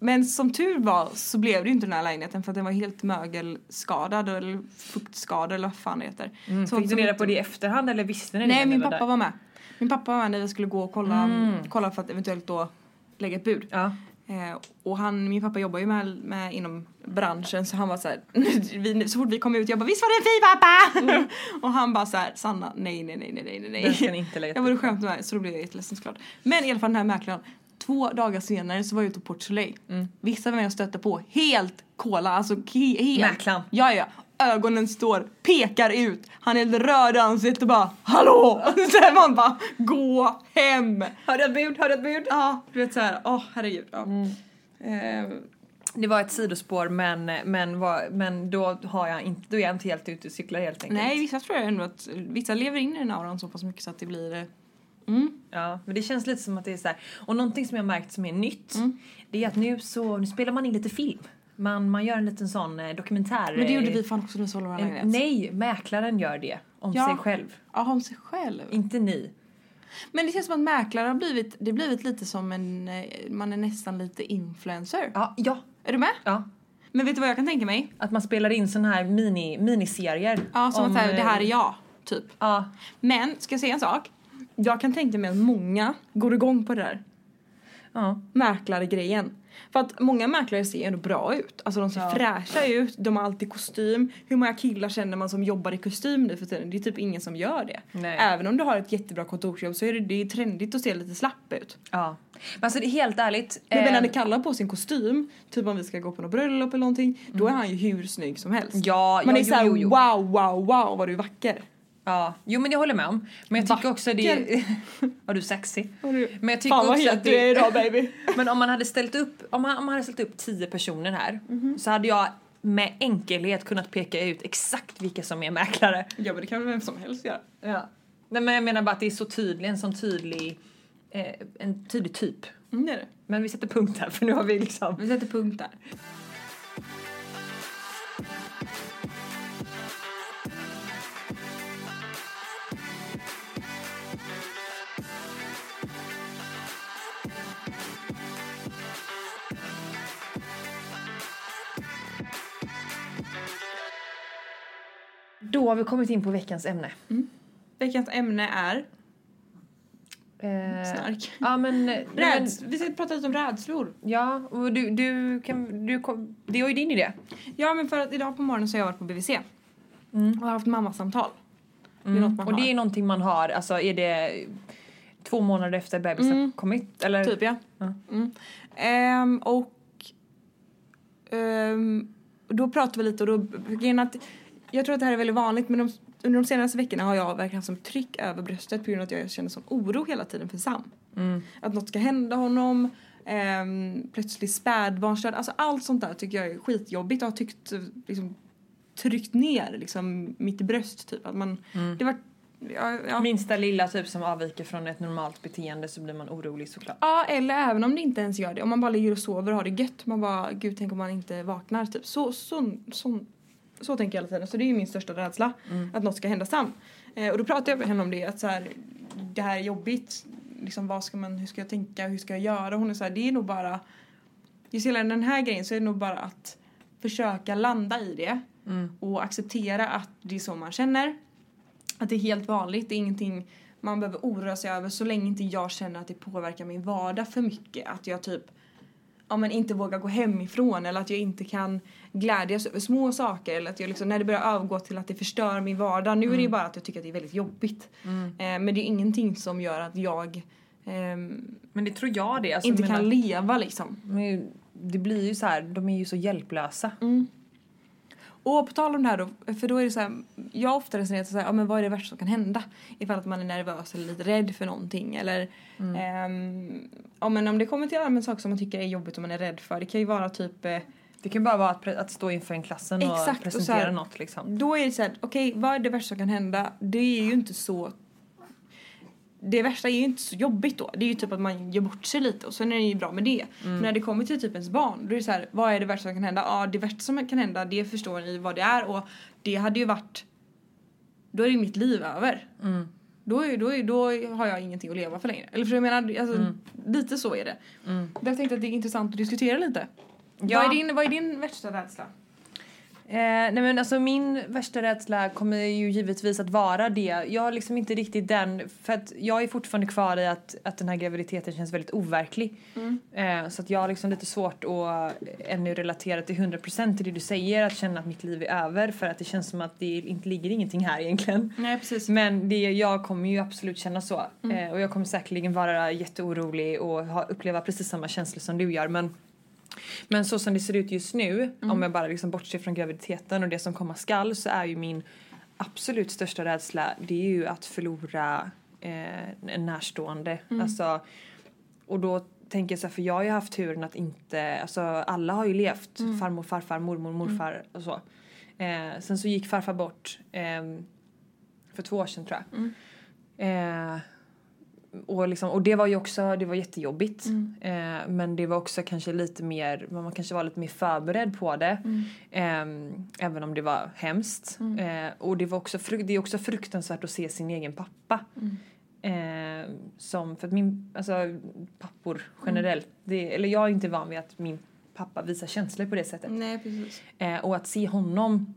S1: men som tur var så blev det ju inte den här lägenheten för att den var helt mögelskadad eller fuktskadad eller vad fan det heter. Mm,
S2: Fick du reda på det i efterhand eller visste ni det?
S1: Nej,
S2: när ni
S1: min
S2: var
S1: pappa
S2: där?
S1: var med. Min pappa var med när vi skulle gå och kolla, kolla för att eventuellt då lägga ett bud.
S2: Ja.
S1: Eh, och han, min pappa jobbar ju med, med inom branschen så han var så här, vi, så fort vi kom ut jag bara visst var det en fin pappa? och han bara så här, Sanna nej nej nej nej nej nej.
S2: Mm. Den ska ni inte lägga
S1: jag borde skämt med så då blev jag jätteledsen såklart. Men i alla fall den här mäklaren, två dagar senare så var jag ute på Port Soleil.
S2: Mm.
S1: Vissa vänner jag stötte på helt kola, alltså he, helt.
S2: Mäklaren.
S1: Ja ja. Ögonen står, pekar ut, han är helt röd i ansiktet och bara hallå! Så här, man bara gå hem!
S2: Har du ett bud? Har du ett bud? Mm.
S1: Ja, du vet såhär, åh herregud. Ja. Eh,
S2: Det var ett sidospår men, men, var, men då, har jag inte, då är jag inte helt ute och cyklar helt enkelt.
S1: nej, vissa tror jag ändå att vissa lever in i den auran så pass mycket så att det blir... eh,
S2: Ja, men det känns lite som att det är så här. Och någonting som jag märkt som är nytt,
S1: Mm.
S2: det är att nu så nu spelar man in lite film. Man, man gör en liten sån eh, dokumentär.
S1: Men det gjorde
S2: eh,
S1: vi fan också när vi sålde vår
S2: en-
S1: lägenhet.
S2: Nej, mäklaren gör det om
S1: Ja.
S2: sig själv,
S1: Ja, om sig själv.
S2: inte ni.
S1: Men det känns som att mäklare har blivit, det har blivit lite som en, eh, man är nästan lite influencer.
S2: Ja, ja,
S1: Är du med?
S2: ja.
S1: Men vet du vad jag kan tänka mig?
S2: Att man spelar in såna här mini, miniserier.
S1: Ja, som
S2: om,
S1: att så här, det här är
S2: eh,
S1: jag, typ.
S2: Ja,
S1: Men, ska jag säga en sak? Jag kan tänka mig att många går igång på det där.
S2: ja.
S1: mäklargrejen. För att många mäklare ser ändå bra ut. Alltså de ser fräscha ut, de har alltid kostym. Hur många killar känner man som jobbar i kostym nu för tiden? Det är typ ingen som gör det.
S2: Nej.
S1: Även om du har ett jättebra kontorsjobb så är det, det är trendigt att se lite slapp ut.
S2: ja. Men alltså det är helt ärligt.
S1: Men
S2: eh,
S1: när det kallar på sin kostym, typ om vi ska gå på något bröllop eller någonting, då är han ju hur snygg som helst.
S2: Mm. Ja,
S1: Man
S2: ja,
S1: är
S2: jo,
S1: såhär
S2: jo, jo.
S1: wow, wow, wow vad du är vacker.
S2: Ja, jo men det håller jag med om. Men jag tycker också det är... Var du sexig?
S1: du-
S2: Men jag tycker
S1: Fan vad
S2: också
S1: het
S2: att
S1: du är
S2: det...
S1: idag baby.
S2: Men om man hade ställt upp, om man, om man hade ställt upp tio personer här
S1: Mhm.
S2: så hade jag med enkelhet kunnat peka ut exakt vilka som är mäklare.
S1: ja men det kan väl vem som helst göra.
S2: Ja. Nej men jag menar bara att det är så tydlig, en sån tydlig, eh, en tydlig typ.
S1: Mm, det är det.
S2: Men vi sätter punkt här för nu har vi liksom...
S1: Vi sätter punkt där.
S2: Då har vi kommit in på veckans ämne.
S1: Veckans ämne är
S2: Eh,
S1: Snark.
S2: Ja men... nej, men
S1: Räds- vi ska prata lite om rädslor.
S2: ja, och du, du kan... Du kom, det var ju din idé.
S1: Ja men för att idag på morgonen så har jag varit på BVC. Och har haft mammasamtal. Det är något man
S2: Mm. Och
S1: har.
S2: det är någonting man har, alltså är det två månader efter bebisen kommit? Eller?
S1: Typ ja.
S2: Ja.
S1: Mm. Ehm, och ehm, då pratade vi lite och då grejen att jag tror att det här är väldigt vanligt men de, under de senaste veckorna har jag verkligen haft som tryck över bröstet på grund av att jag känner sån oro hela tiden för Sam.
S2: Mm.
S1: Att något ska hända honom. Um, plötsligt spädbarnsdöd. Alltså allt sånt där tycker jag är skitjobbigt och har
S2: Mm.
S1: tyckt eh, liksom, tryckt ner liksom, mitt bröst. Typ. Att man, det var, Ja, ja.
S2: Minsta lilla typ som avviker från ett normalt beteende så blir man orolig såklart.
S1: ja, eller även om det inte ens gör det. Om man bara ligger och sover och har det gött. Man bara, gud tänk om man inte vaknar. Typ. Så, så, så, så tänker jag hela tiden. Så det är ju min största rädsla. Att något ska hända Sam. Eh, och då pratade jag med henne om det. Att så här, det här är jobbigt. Liksom, vad ska man, hur ska jag tänka? Hur ska jag göra? Hon är så här, det är nog bara. Just hela den här grejen så är det nog bara att försöka landa i det. Och acceptera att det är så man känner. Att det är helt vanligt, det är ingenting man behöver oroa sig över så länge inte jag känner att det påverkar min vardag för mycket. Att jag typ ja, men inte vågar gå hemifrån eller att jag inte kan glädjas över små saker. Eller att jag liksom, när det börjar övergå till att det förstör min vardag. Nu är det
S2: Mm.
S1: ju bara att jag tycker att det är väldigt jobbigt. Eh, men det är ingenting som gör att jag ehm,
S2: Men det tror jag det. Alltså,
S1: inte
S2: men
S1: kan
S2: att-
S1: leva liksom.
S2: men det blir ju så här, de är ju så hjälplösa.
S1: Och på tal om det här då, för då är det så här, jag har ofta resonerat så här, ja men vad är det värsta som kan hända? Ifall att man är nervös eller lite rädd för någonting eller ehm, ja men om det kommer till allmän saker som man tycker är jobbigt och man är rädd för, det kan ju vara typ eh,
S2: Det kan bara vara att, pre- att stå inför en klassen och
S1: Exakt, och
S2: presentera
S1: så här-
S2: något liksom.
S1: då är det så här, okej vad är det värsta som kan hända? Det är ju inte så det värsta är ju inte så jobbigt då. Det är ju typ att man gör bort sig lite och sen är det ju bra med det. Men när det kommer till typ ens barn då är det så här, vad är det värsta som kan hända? Ja, det värsta som kan hända det förstår ni vad det är och det hade ju varit då är ju mitt liv över. Då, är, då, är, då har jag ingenting att leva för längre. Eller för jag menar, alltså, lite så är det. Jag tänkte att det är intressant att diskutera lite.
S2: Ja.
S1: Vad, är din, vad är din värsta rädsla?
S2: Eh, nej men alltså min värsta rädsla kommer ju givetvis att vara det. Jag har liksom inte riktigt den, för att jag är fortfarande kvar i att, att den här graviditeten känns väldigt overklig. Eh, så att jag har liksom lite svårt att ännu relatera till 100% till det du säger, att känna att mitt liv är över för att det känns som att det inte ligger ingenting här egentligen.
S1: Nej precis.
S2: Men det, jag kommer ju absolut känna så. Eh, och jag kommer säkerligen vara jätteorolig och ha, uppleva precis samma känslor som du gör. Men, men så som det ser ut just nu, om jag bara liksom bortser från graviditeten och det som komma skall, så är ju min absolut största rädsla det är ju att förlora eh, en närstående. Alltså, och då tänker jag så här, för jag har ju haft turen att inte, alltså alla har ju levt. Farmor, farfar, mormor, morfar och så. Eh, sen så gick farfar bort. ehm, för två år sedan tror jag. Eh, och, liksom, och det var ju också det var jättejobbigt. Eh, men det var också kanske lite mer, man kanske var lite mer förberedd på det. Eh, även om det var hemskt. Eh, och det, var också, fru- det är också fruktansvärt att se sin egen pappa. Eh, som, för att min, alltså pappor generellt, det, eller jag är inte van vid att min pappa visar känslor på det sättet.
S1: Nej precis.
S2: Eh, och att se honom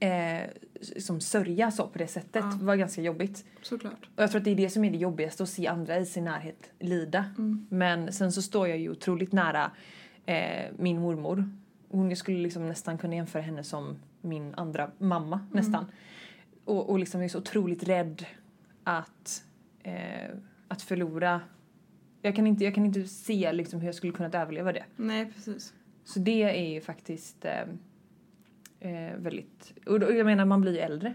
S2: eh, s- som sörja så på det sättet var ganska jobbigt.
S1: Såklart.
S2: Och jag tror att det är det som är det jobbigaste, att se andra i sin närhet lida. Men sen så står jag ju otroligt nära eh, min mormor. Hon, jag skulle liksom nästan kunna jämföra henne som min andra mamma nästan. Och, och liksom är så otroligt rädd att, eh, att förlora. Jag kan inte, jag kan inte se liksom hur jag skulle kunnat överleva det.
S1: Nej precis.
S2: Så det är ju faktiskt eh, eh, väldigt... Och då, jag menar, man blir ju äldre.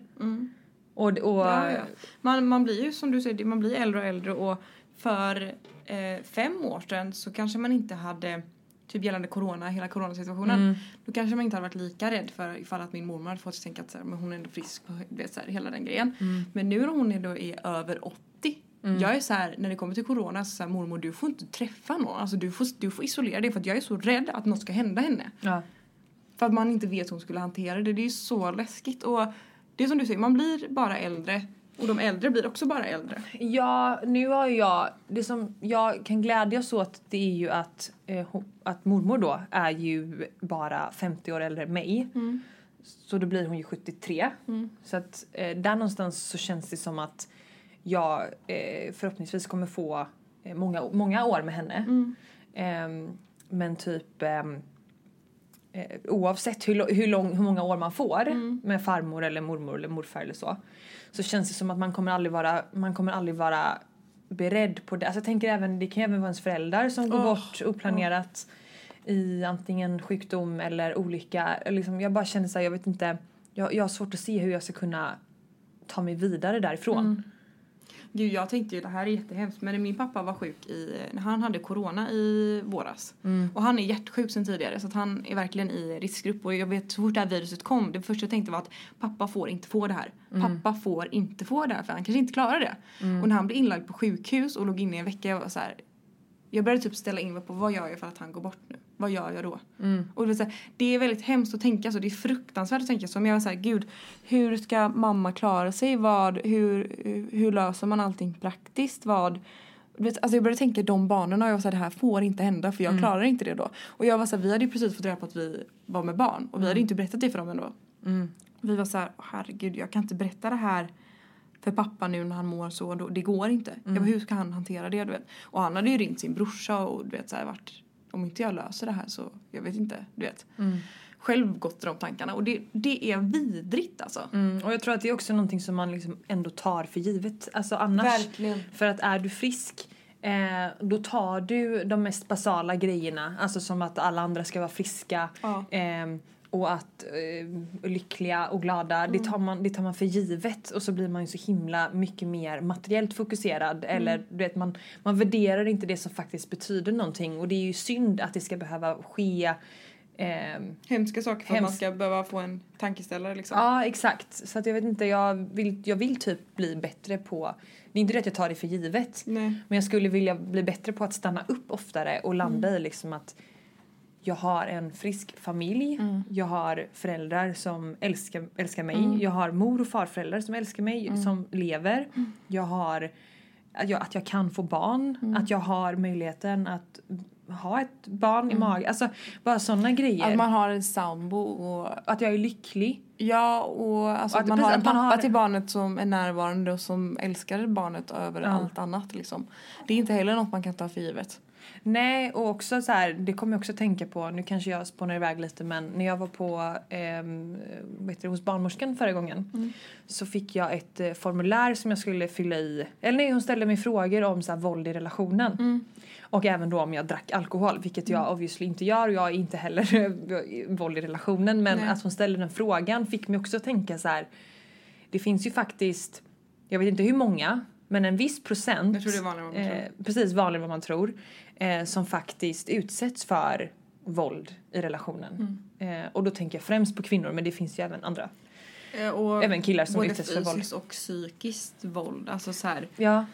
S2: Och, och,
S1: Mm. Ja, ja. Man, man blir ju som du säger, man blir äldre och äldre och för eh, fem år sedan så kanske man inte hade Typ gällande corona, hela coronasituationen. Då kanske man inte hade varit lika rädd för ifall att min mormor hade fått tänka att så här, men hon är ändå frisk och du vet, så här, hela den grejen. Men nu när hon ändå är över 80. Jag är så här, när det kommer till corona så, så här, mormor du får inte träffa någon. Alltså du får, du får isolera dig för att jag är så rädd att något ska hända henne.
S2: ja.
S1: För att man inte vet hur hon skulle hantera det. Det är ju så läskigt. Och det är som du säger, man blir bara äldre. Och de äldre blir också bara äldre.
S2: Ja, nu har ju jag... Det som jag kan glädjas åt det är ju att, eh, ho- att mormor då är ju bara 50 år äldre än mig.
S1: Mm.
S2: Så då blir hon ju 73. Så att eh, där någonstans så känns det som att jag eh, förhoppningsvis kommer få eh, många, många år med henne.
S1: Mm.
S2: Ehm, men typ... ehm, eh, oavsett hur, lo- hur, lång, hur många år man får med farmor eller mormor eller morfar eller så så känns det som att man kommer aldrig vara, man kommer aldrig vara beredd på det. Alltså jag tänker även, det kan ju även vara ens föräldrar som går bort oplanerat i antingen sjukdom eller olycka. Eller Liksom, jag bara känner så här, jag vet inte, jag, jag har svårt att se hur jag ska kunna ta mig vidare därifrån.
S1: Gud, jag tänkte ju det här är jättehemskt men min pappa var sjuk i, när han hade corona i våras. Och han är hjärtsjuk sen tidigare så att han är verkligen i riskgrupp. Och jag vet så fort det här viruset kom, det första jag tänkte var att pappa får inte få det här. Pappa får inte få det här för han kanske inte klarar det. Och när han blev inlagd på sjukhus och låg inne i en vecka, jag var så här, jag började typ ställa in mig på vad gör jag för att han går bort nu? Vad gör jag då? Och det, är så här, det är väldigt hemskt att tänka så. Det är fruktansvärt att tänka så. Men jag var så här, gud, hur ska mamma klara sig? Vad, hur, hur- hur löser man allting praktiskt? Vad, du vet, alltså jag började tänka i de banorna och jag var så här, det här får inte hända för jag klarar inte det då. Och jag var så här, vi hade ju precis fått reda på att vi var med barn och vi hade inte berättat det för dem ändå. Vi var så här, "Åh, herregud jag kan inte berätta det här för pappa nu när han mår så. Då, det går inte. Jag bara, hur ska han hantera det? Du vet? Och han hade ju ringt sin brorsa och du vet så här varit, om inte jag löser det här så jag vet inte. Du vet. Själv gått i de tankarna och det, det är vidrigt alltså.
S2: Mm, och jag tror att det är också någonting som man liksom ändå tar för givet. Alltså annars.
S1: Verkligen.
S2: För att är du frisk eh, då tar du de mest basala grejerna. Alltså som att alla andra ska vara friska.
S1: Ja.
S2: ehm, och att eh, lyckliga och glada, det,
S1: Mm.
S2: tar man, det tar man för givet och så blir man ju så himla mycket mer materiellt fokuserad.
S1: Mm.
S2: Eller du vet, man, man värderar inte det som faktiskt betyder någonting och det är ju synd att det ska behöva ske ehm,
S1: Hemska saker för att
S2: Hemskt.
S1: man ska behöva få en tankeställare liksom.
S2: Ja, exakt. Så att jag vet inte, jag vill, jag vill typ bli bättre på... Det är inte det att jag tar det för givet.
S1: Nej.
S2: Men jag skulle vilja bli bättre på att stanna upp oftare och landa
S4: Mm.
S2: i liksom att jag har en frisk familj,
S4: Mm.
S2: jag har föräldrar som älskar, älskar mig, jag har mor och farföräldrar som älskar mig,
S4: Mm.
S2: som lever, jag har att jag, att jag kan få barn,
S4: Mm.
S2: att jag har möjligheten att ha ett barn i magen. Alltså bara sådana grejer.
S4: Mm. Att man har en sambo och
S2: att jag är lycklig.
S4: Ja, och, alltså att,
S2: Och att-
S4: man
S2: precis,
S4: har en
S2: att man
S4: pappa
S2: har-
S4: till barnet som är närvarande och som älskar barnet över allt annat. Liksom. Det är inte heller något man kan ta för givet.
S2: Nej, och också så här, det kommer jag också tänka på, nu kanske jag spånar iväg lite men när jag var på ehm, vad heter det, hos barnmorskan förra gången så fick jag ett eh, formulär som jag skulle fylla i, eller nej hon ställde mig frågor om så här, våld i relationen och även då om jag drack alkohol vilket jag obviously inte gör och jag är inte heller våld i relationen men att hon ställde den frågan fick mig också att tänka så här. det finns ju faktiskt, jag vet inte hur många men en viss procent
S1: Jag tror det är vanligare än vad man tror.
S2: eh, precis vanligare än vad man tror eh, som faktiskt utsätts för våld i relationen. Eh, och då tänker jag främst på kvinnor men det finns ju även andra.
S1: Eh, Och
S2: Även killar som
S1: både
S2: utsätts för våld.
S1: fysiskt och psykiskt våld. Alltså så här.
S2: Ja.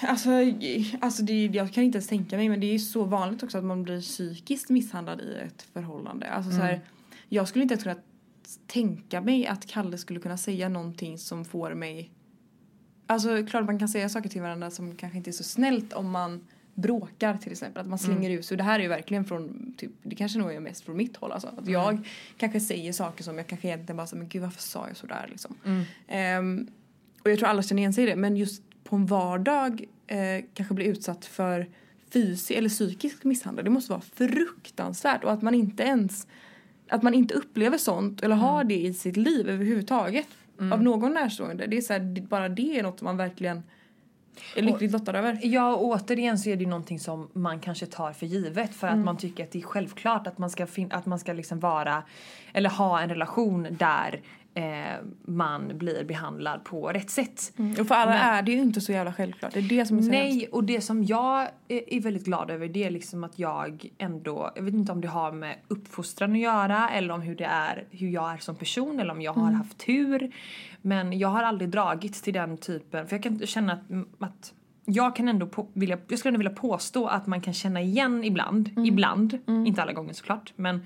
S1: Alltså, i- alltså det, är- jag kan inte ens tänka mig men det är ju så vanligt också att man blir psykiskt misshandlad i ett förhållande. Alltså så här, jag skulle inte ens kunna tänka mig att Kalle skulle kunna säga någonting som får mig... Alltså klart man kan säga saker till varandra som kanske inte är så snällt om man bråkar till exempel. Att man slänger ut sig. Och Det här är ju verkligen från, typ, det kanske nog är mest från mitt håll alltså. Att jag kanske säger saker som jag kanske egentligen bara säger men gud varför sa jag sådär liksom. Ehm, och jag tror alla känner igen sig i det. Men just på en vardag eh, kanske bli utsatt för fysisk eller psykisk misshandel. Det måste vara fruktansvärt. Och att man inte ens att man inte upplever sånt eller har det i sitt liv överhuvudtaget. Av någon närstående. Det är så här, det- bara det är något man verkligen är lyckligt lottad över.
S2: ja, och återigen så är det ju någonting som man kanske tar för givet för att man tycker att det är självklart att man ska, fin- att man ska liksom vara eller ha en relation där eh, man blir behandlad på rätt sätt.
S4: Och för alla är det ju inte så jävla självklart. Det är det som är så hemskt.
S2: Nej, och det som jag är är väldigt glad över det är liksom att jag ändå, jag vet inte om det har med uppfostran att göra eller om hur det är, hur jag är som person eller om jag
S4: Mm.
S2: har haft tur. Men jag har aldrig dragits till den typen, för jag kan känna att, att jag kan ändå på, vilja, jag skulle ändå vilja påstå att man kan känna igen ibland,
S4: Mm.
S2: ibland, inte alla gånger såklart, men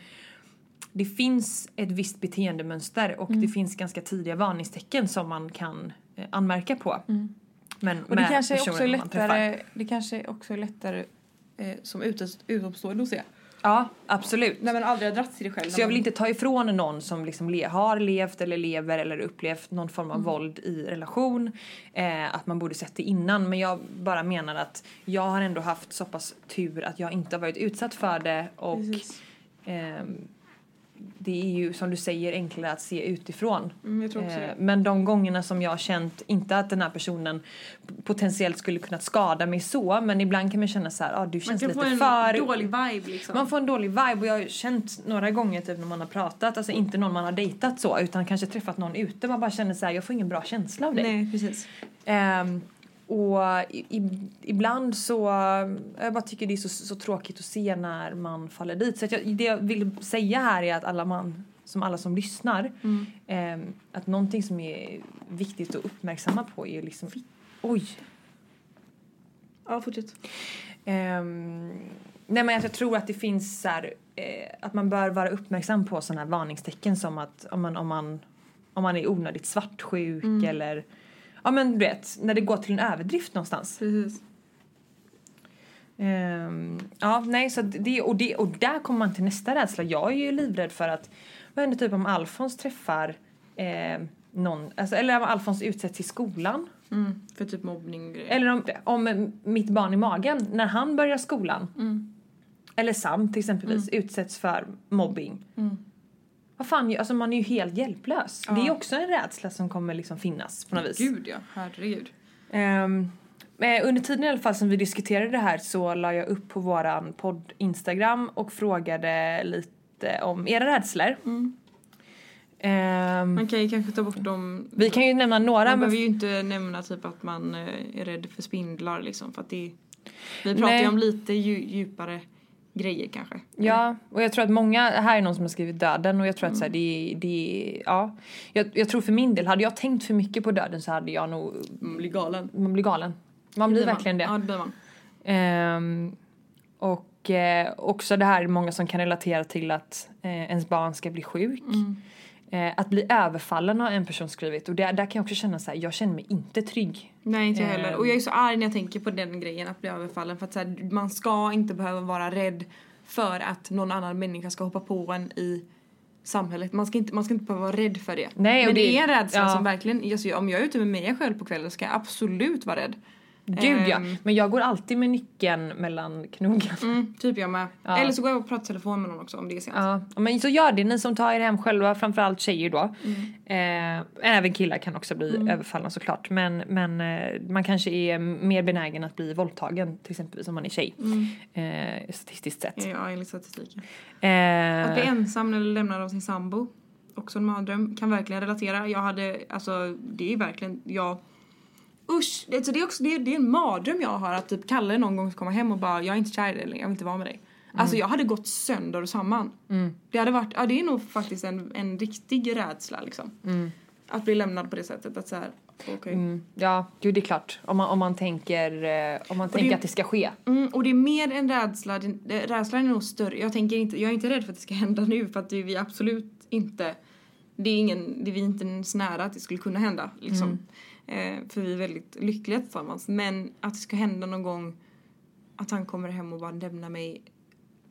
S2: det finns ett visst beteendemönster och
S4: Mm.
S2: det finns ganska tidiga varningstecken som man kan eh, anmärka på. Men
S4: Mm. Och det
S2: med
S4: kanske, är
S2: personen
S4: också är
S2: man träffar.
S4: lättare, det kanske är också är lättare
S1: Eh, som utom- utomstående att se.
S2: Ja, absolut.
S1: När man aldrig har dragits till det själv.
S2: så jag vill inte ta ifrån någon som liksom le- har levt eller lever eller upplevt någon form
S1: Mm.
S2: av våld i relation eh, att man borde sett det innan men jag bara menar att jag har ändå haft så pass tur att jag inte har varit utsatt för det och ehm, det är ju som du säger enklare att se utifrån. Eh,
S1: Mm, jag tror också det.
S2: men de gångerna som jag har känt, inte att den här personen potentiellt skulle kunnat skada mig så men ibland kan man känna så här, ah, du känns lite för
S1: vibe liksom.
S2: man får en dålig vibe och jag har ju känt några gånger typ när man har pratat, alltså inte någon man har dejtat så utan kanske träffat någon ute, man bara känner så här jag får ingen bra känsla av dig.
S1: Nej precis.
S2: Ehm, Och i, i, ibland så... Jag bara tycker det är så, så tråkigt att se när man faller dit. Så att jag, det jag vill säga här är att alla man som alla som lyssnar ehm, att någonting som är viktigt att uppmärksamma på är liksom oj
S1: Ja, fortsätt.
S2: Ehm, nej men jag tror att det finns så här, eh, att man bör vara uppmärksam på sådana här varningstecken som att om man, om man, om man är onödigt svartsjuk eller ja men du vet när det går till en överdrift någonstans.
S1: Precis.
S2: Ehm, ja nej så att det och, det och där kommer man till nästa rädsla. Jag är ju livrädd för att vad händer typ om Alfons träffar eh, någon, alltså, eller om Alfons utsätts i skolan.
S1: Mm. För typ mobbning och grejer.
S2: Eller om, om mitt barn i magen, när han börjar skolan. Eller Sam till exempelvis, utsätts för mobbing. Vad fan, ju- alltså man är ju helt hjälplös. Det är också en rädsla som kommer liksom finnas på något vis.
S1: Gud ja, herregud.
S2: Ehm, men under tiden i alla fall som vi diskuterade det här så la jag upp på våran podd Instagram och frågade lite om era rädslor. Ehm,
S1: Man kan ju kanske ta bort dem.
S2: vi kan ju nämna några.
S1: Man
S2: men-
S1: behöver ju inte nämna typ att man eh, är rädd för spindlar liksom för att det Vi pratar
S2: Nej.
S1: ju om lite dju- djupare grejer kanske. Mm.
S2: Ja, och jag tror att många, här är någon som har skrivit döden och jag tror att så här, det, det, ja. jag, jag tror för min del, hade jag tänkt för mycket på döden så hade jag nog,
S1: Man Mm, blir galen.
S2: man blir galen. Man blir verkligen det.
S1: Ja, det blir man.
S2: Ehm, och eh, också det här är många som kan relatera till att eh, ens barn ska bli sjuk.
S1: Mm.
S2: Eh, att bli överfallen har en person skrivit och där, där kan jag också känna så här, jag känner mig inte trygg.
S1: Nej inte jag
S2: Ehm.
S1: heller. Och jag är så arg när jag tänker på den grejen att bli överfallen för att så här, man ska inte behöva vara rädd för att någon annan människa ska hoppa på en i samhället. Man ska inte, man ska inte behöva vara rädd för det.
S2: Nej, och
S1: Men det,
S2: det-
S1: är en rädsla
S2: ja.
S1: som verkligen, alltså, om jag är ute med mig själv på kvällen ska jag absolut vara rädd.
S2: Gud ja,
S1: Ehm.
S2: men jag går alltid med nyckeln mellan knogarna.
S1: Mm, typ jag med.
S2: Ja.
S1: Eller så går jag och pratar i telefon med någon också om det är sent.
S2: Ja, men så gör det. Ni som tar er hem själva, framförallt tjejer då. Eh, men även killar kan också bli överfallna såklart. Men, men eh, man kanske är mer benägen att bli våldtagen till exempel om man är tjej. Eh, statistiskt sett.
S1: Ja, enligt statistiken.
S2: Eh,
S1: Att bli ensam eller lämnad av sin sambo, också en mardröm, kan verkligen relatera. Jag hade, alltså det är verkligen, jag... Usch! Alltså det, är också, det, är, det är en mardröm jag har att typ Kalle någon gång ska komma hem och bara jag är inte kär i dig längre, jag vill inte vara med dig.
S2: Mm.
S1: Alltså jag hade gått sönder och samman. Det hade varit, ja det är nog faktiskt en, en riktig rädsla liksom. Att bli lämnad på det sättet att såhär, okej.
S2: mm, ja, gud det är klart. Om man, om man tänker, eh, om man tänker
S1: det-
S2: att det ska ske.
S1: Mm, och det är mer en rädsla, den- eh, rädslan är nog större. Jag, tänker inte, jag är inte rädd för att det ska hända nu för att det är vi absolut inte, det är, ingen, det är vi inte ens nära att det skulle kunna hända. Liksom. Eh,
S2: Mm.
S1: för vi är väldigt lyckliga tillsammans. Men att det ska hända någon gång att han kommer hem och bara lämnar mig,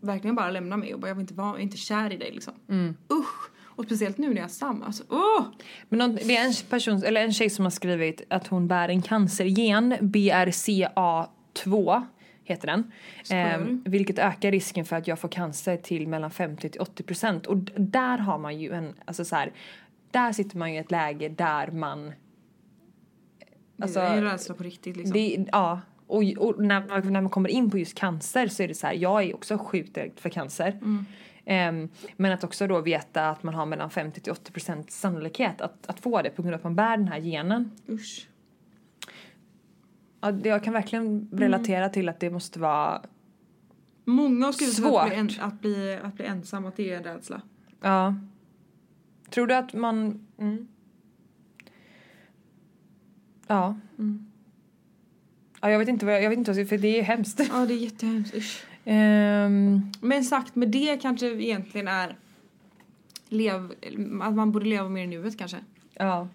S1: verkligen bara lämnar mig och bara jag vill inte vara, jag är inte kär i dig liksom.
S2: Mm.
S1: Usch! Och speciellt nu när jag är sam, alltså åh!
S2: Men någon, det är en, person, eller en tjej som har skrivit att hon bär en cancergen, BRCA2 heter den. Ehm,
S1: Skojar du?
S2: vilket ökar risken för att jag får cancer till mellan 50 till 80 procent. Och d- där har man ju en, alltså så här, där sitter man ju i ett läge där man... Alltså,
S1: det är en rädsla på riktigt liksom.
S2: det, ja. Och, och när, man- när man kommer in på just cancer så är det så här, jag är också sjukt rädd för cancer. Ehm, men att också då veta att man har mellan 50 till 80 procent sannolikhet att, att få det på grund av att man bär den här genen.
S1: Usch.
S2: Ja, det- jag kan verkligen relatera till att det måste vara,
S1: Många har skrivit att bli, en,
S2: Svårt.
S1: att, bli, att bli ensam, att det är en rädsla.
S2: ja. Tror du att man, mm. Ja. Mm. Ja, jag vet inte vad jag, jag vet inte vad jag ska- för det är ju hemskt.
S1: Ja det är jättehemskt, usch.
S2: Ehm,
S1: Men sagt med det kanske egentligen är lev, att man borde leva mer i nuet kanske.
S2: Ja.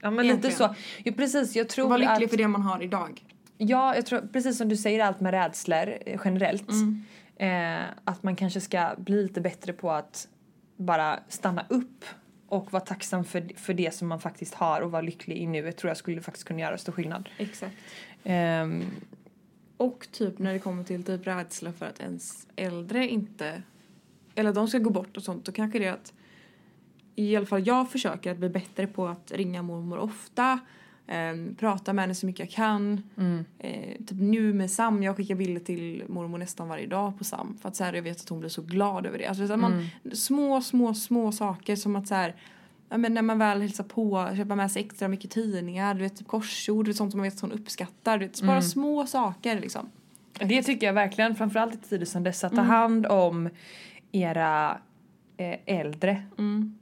S2: Ja men
S1: Egentligen.
S2: lite så. Jo, precis, jag tror
S1: Var lycklig
S2: att,
S1: för det man har idag.
S2: Ja, jag tror precis som du säger allt med rädslor eh, generellt. Eh, att man kanske ska bli lite bättre på att bara stanna upp och vara tacksam för, för det som man faktiskt har och vara lycklig i nuet tror jag skulle faktiskt kunna göra stor skillnad.
S1: Exakt.
S2: Ehm,
S1: Och typ när det kommer till typ rädsla för att ens äldre inte eller att de ska gå bort och sånt då kanske det är att i alla fall jag försöker att bli bättre på att ringa mormor ofta eh, prata med henne så mycket jag kan eh, typ nu med Sam jag skickar bilder till mormor nästan varje dag på Sam för att Mm. så här, jag vet att hon blir så glad över det alltså, så att man, små små små saker som att så här ja, men när man väl hälsar på, köpa med sig extra mycket tidningar, du vet typ korsord, du vet, sånt som man vet att hon uppskattar. Du vet, bara små saker liksom.
S2: Det tycker jag verkligen, framförallt i tider som dessa. Ta hand om era eh, äldre.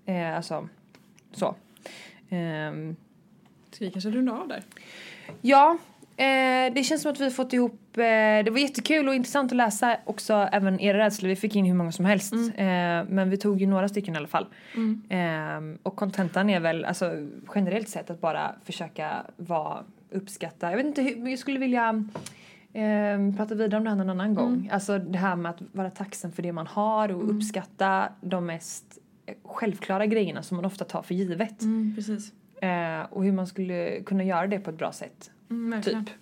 S2: Eh, alltså, så. Ehm,
S1: Ska vi kanske runda av där?
S2: ja, eh, det känns som att vi har fått ihop... Eh, det var jättekul och intressant att läsa också även era rädslor. Vi fick in hur många som helst. Eh, men vi tog ju några stycken i alla fall. Ehm, och kontentan är väl alltså, generellt sett att bara försöka vara, uppskatta. Jag vet inte hur, men jag skulle vilja ehm, prata vidare om det här någon annan gång. Alltså det här med att vara tacksam för det man har och uppskatta de mest eh, självklara grejerna som man ofta tar för givet.
S1: Mm. precis.
S2: Eh, och hur man skulle kunna göra det på ett bra sätt.
S1: Mm, verkligen.
S2: Typ.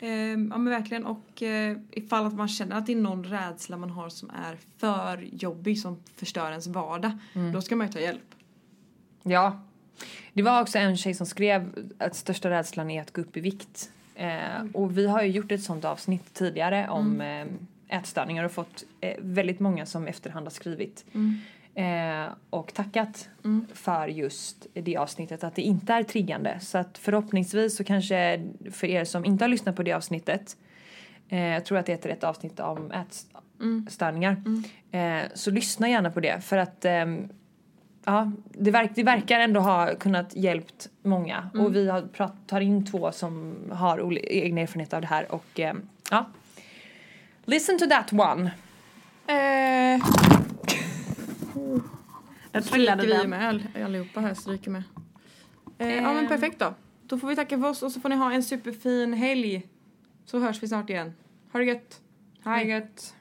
S1: Ehm, ja men verkligen och eh, ifall att man känner att det är någon rädsla man har som är för jobbig som förstör ens vardag. Då ska man ju ta hjälp.
S2: Ja. Det var också en tjej som skrev att största rädslan är att gå upp i vikt. Eh, och vi har ju gjort ett sånt avsnitt tidigare om eh, ätstörningar och fått eh, väldigt många som efterhand har skrivit eh, och tackat för just det avsnittet, att det inte är triggande. Så att förhoppningsvis så kanske för er som inte har lyssnat på det avsnittet Eh, jag tror att det heter ett avsnitt om ätstörningar. Eh, så lyssna gärna på det för att ehm, ja, det, verk, det verkar ändå ha kunnat hjälpt många. Och vi har prat, tar in två som har oli- egna erfarenheter av det här och ehm, ja. Listen to that one.
S1: Eh,
S2: Jag
S1: vi i med öl allihopa här, stryker med. Eh, Ja men perfekt då. Då får vi tacka för oss och så får ni ha en superfin helg. Så hörs vi snart igen. Ha det gött. Hej. gött.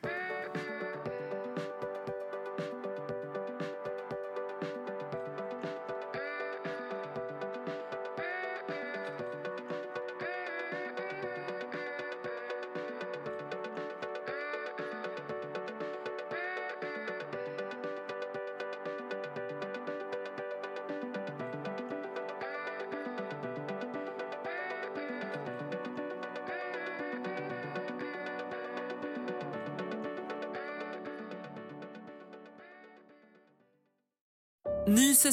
S5: Ny